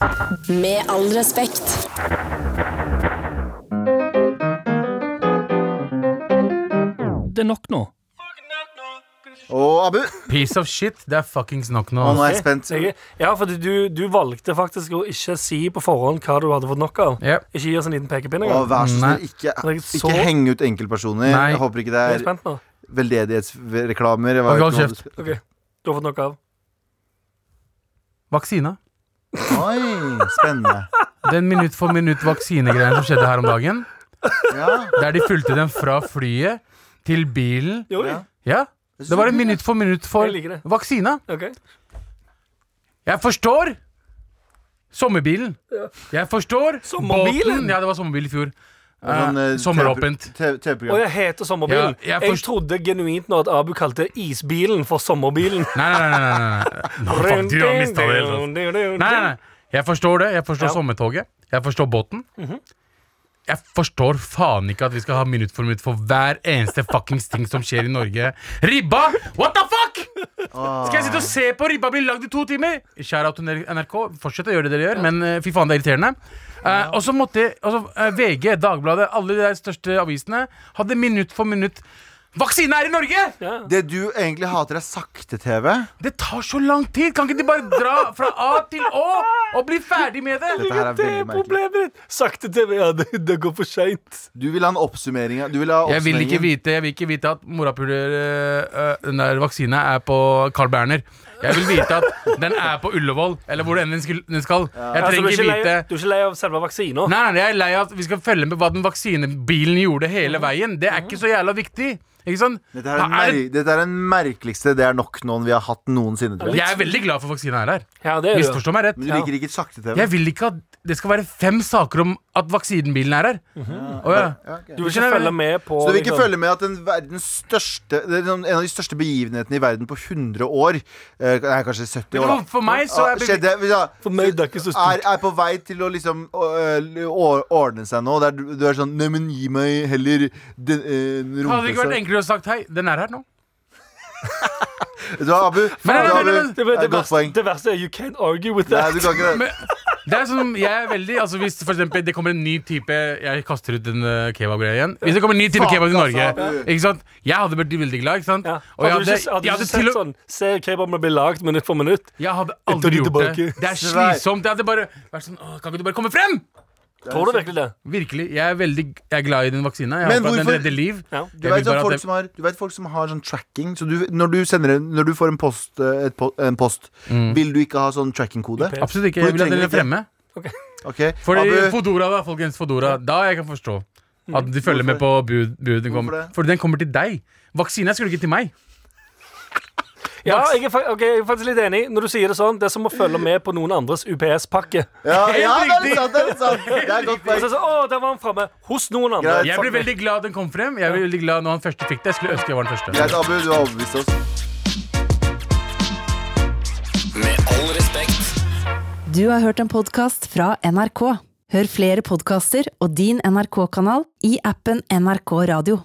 A: Med all respekt.
E: Det er nok nå.
D: Og Abu,
C: Piece of shit. Det er fuckings nok nå.
D: å, nå er jeg spent.
B: Jeg- Ja, fordi du, du valgte faktisk å ikke si på forhånd hva du hadde fått nok av.
C: Ja.
B: Ikke gi oss en liten pekepinn
D: Å,
B: engang.
D: vær så
C: Nei.
D: snill, ikke,
B: er ikke så-
D: ikke heng ut enkeltpersoner.
C: Nei.
D: Jeg håper ikke det
B: Jeg er
D: er
B: spent nå.
D: veldedighetsreklamer. Jeg
C: Ok,
D: vet
C: hold
D: ikke om du
C: kjeft.
D: skal-
B: Ok, Du har fått nok av.
C: Vaksina.
D: Oi, spennende.
C: Den minutt for minutt vaksinegreien som skjedde her om dagen,
D: Ja.
C: der de fulgte den fra flyet til bilen
B: Jo,
D: Ja.
C: Ja, det var en minutt for minutt for
B: Jeg liker det.
C: vaksina.
B: ok.
C: Jeg forstår sommerbilen. Jeg forstår
B: Sommerbilen?
C: båten. Ja, det var sommerbil i fjor.
D: Det er sånn,
C: Eh,
D: eh,
C: sommeråpent.
D: TV- TV-program.
B: Og jeg heter Sommerbilen.
C: Ja, jeg
B: jeg,
C: forst-
B: trodde genuint nå at Abu kalte isbilen for Sommerbilen.
C: Nei, nei, nei. nei, nei, nei. Nå, fuck, du har mistet det helt. altså. Nei, nei, nei. Jeg forstår det. Jeg forstår
B: Ja.
C: sommertoget. Jeg forstår båten. Jeg forstår faen ikke at vi skal ha minutt for minutt for hver eneste fuckings ting som skjer i Norge. Ribba! What the fuck?! Skal jeg sitte og se på ribba bli lagd i to timer?! Shout out til NRK. Fortsett å gjøre det dere gjør, men eh, fy faen, det er irriterende. Eh, og så måtte altså, eh, VG, Dagbladet, alle de der største avisene hadde minutt for minutt Vaksine er i Norge!
D: Det du egentlig hater, er sakte-TV.
C: Det tar så lang tid! Kan ikke de bare dra fra A til Å og bli ferdig med det?
D: Dette her er
B: Det
D: veldig
B: er
D: merkelig.
B: problemet ditt! Sakte TV, ja, det, det går for seint.
D: Du vil ha en oppsummering. av- Du vil ha
C: Jeg vil ikke
D: oppsummeringen.
C: vite, jeg vil ikke vite at morapuler øh, øh, Den der vaksina er på Carl Berner. Jeg vil vite at den er på Ullevål, eller hvor den enn skal. Den skal. Jeg
B: Altså, du,
C: trenger
B: er
C: ikke
B: ikke lei,
C: vite
B: du er ikke lei av selve vaksina?
C: Nei, nei, jeg er lei av at vi skal følge med på hva den vaksinebilen gjorde hele veien. Det er ikke så jævla viktig. Ikke sant?
D: Dette er, den
C: Da er
D: mer dette er den merkeligste Det er nok noen vi har hatt noensinne, tror
C: det- Jeg
D: jeg.
C: er veldig glad for vaksina er her.
B: Ja, det er det.
C: Misforstå meg rett.
D: Men du liker ikke sakte-TV?
C: Jeg vil ikke at det skal være fem saker om at vaksinebilen er her.
B: Mhm.
C: Å ja.
D: Ja, ok.
B: Du vil ikke følge med på
D: Så du vil ikke
B: liksom-
D: følge med at den verdens største det er sånn En av de største begivenhetene i verden på 100 år eh, Nei, kanskje
C: For,
D: 70 år, da. Ah,
C: for meg så
D: Ja,
C: er bevi-
D: skjedde, ja,
B: For meg, det er ikke så stort.
D: er, er på vei til å liksom å, ø, å- ordne seg nå. Der du, du er sånn Nei, men gi meg heller den, eh, den
C: Hadde det ikke vært
D: rumpesa."
C: enklere å sagt hei, den er her nå?
D: Vet Du hva, Abu, Vet du
C: nei,
D: hva,
C: nei,
D: Abu?
C: nei, nei,
B: Det,
D: Det er
B: det,
D: et godt
B: verste,
D: poeng.
B: det verste er you can't argue with
D: Nei,
B: that.
D: du kan ikke det.
C: Men, det er sånn, jeg er veldig altså Hvis for eksempel, det kommer en ny type Jeg kaster ut den eh, kebabgreia igjen. Hvis det kommer en ny type
D: Fuck,
C: kebab i Norge
D: altså,
C: Ikke sant? Jeg hadde blitt veldig glad. Ikke sant?
B: Ja.
C: Og jeg
B: Hadde du
C: hadde,
B: ikke, hadde
C: jeg
B: du
C: hadde,
B: ikke
C: til
B: sett
C: og,
B: sånn Se kebabene bli lagd minutt for minutt.
C: jeg hadde
B: Etter
C: aldri
B: de
C: gjort det.
B: tilbake.
C: Det er slitsomt. Jeg hadde bare vært sånn «Åh, Kan ikke du bare komme frem?
B: Tror du virkelig det?
C: Virkelig. Jeg er veldig jeg er glad i den vaksina. Jeg
D: Men
C: håper at den
D: hvorfor-
C: redder liv.
B: Ja.
C: Jeg
D: Du vet,
C: vil bare
D: sånn
C: at
D: folk
C: det-
D: som har, du vet folk som har sånn tracking Så du, når, du sender, en- når du får en post, eh, et po en post
C: Mm.
D: vil du ikke ha sånn tracking-kode?
C: Absolutt ikke.
D: For
C: Jeg
D: du
C: vil at den
D: trenger
C: er fremme.
D: Ok,
C: Fordi
D: Abu,
C: Fodora, da, folkens. Fodora. Da jeg kan forstå at de følger med på bud, bud den kommer.
D: Hvorfor det?
C: Fordi den kommer til deg. Vaksina skulle ikke til meg.
B: Ja, jeg er, fa- ok, jeg er faktisk litt enig. Når du sier det sånn, det er som å følge med på noen andres UPS-pakke.
D: ja, ja, det
C: riktig.
D: er sant, det er sant! Det er et godt
B: Og så
D: poeng.
B: er det sånn, Å, der var han framme! Hos noen andre.
D: Greit.
C: Jeg blir veldig glad den kom frem. Jeg blir veldig glad når han første fikk det. Jeg skulle ønske jeg var den første.
D: Greit, Abu, du har overbevist oss.
F: Med all respekt.
G: Du har hørt en podkast fra NRK. Hør flere podkaster og din NRK-kanal i appen NRK Radio.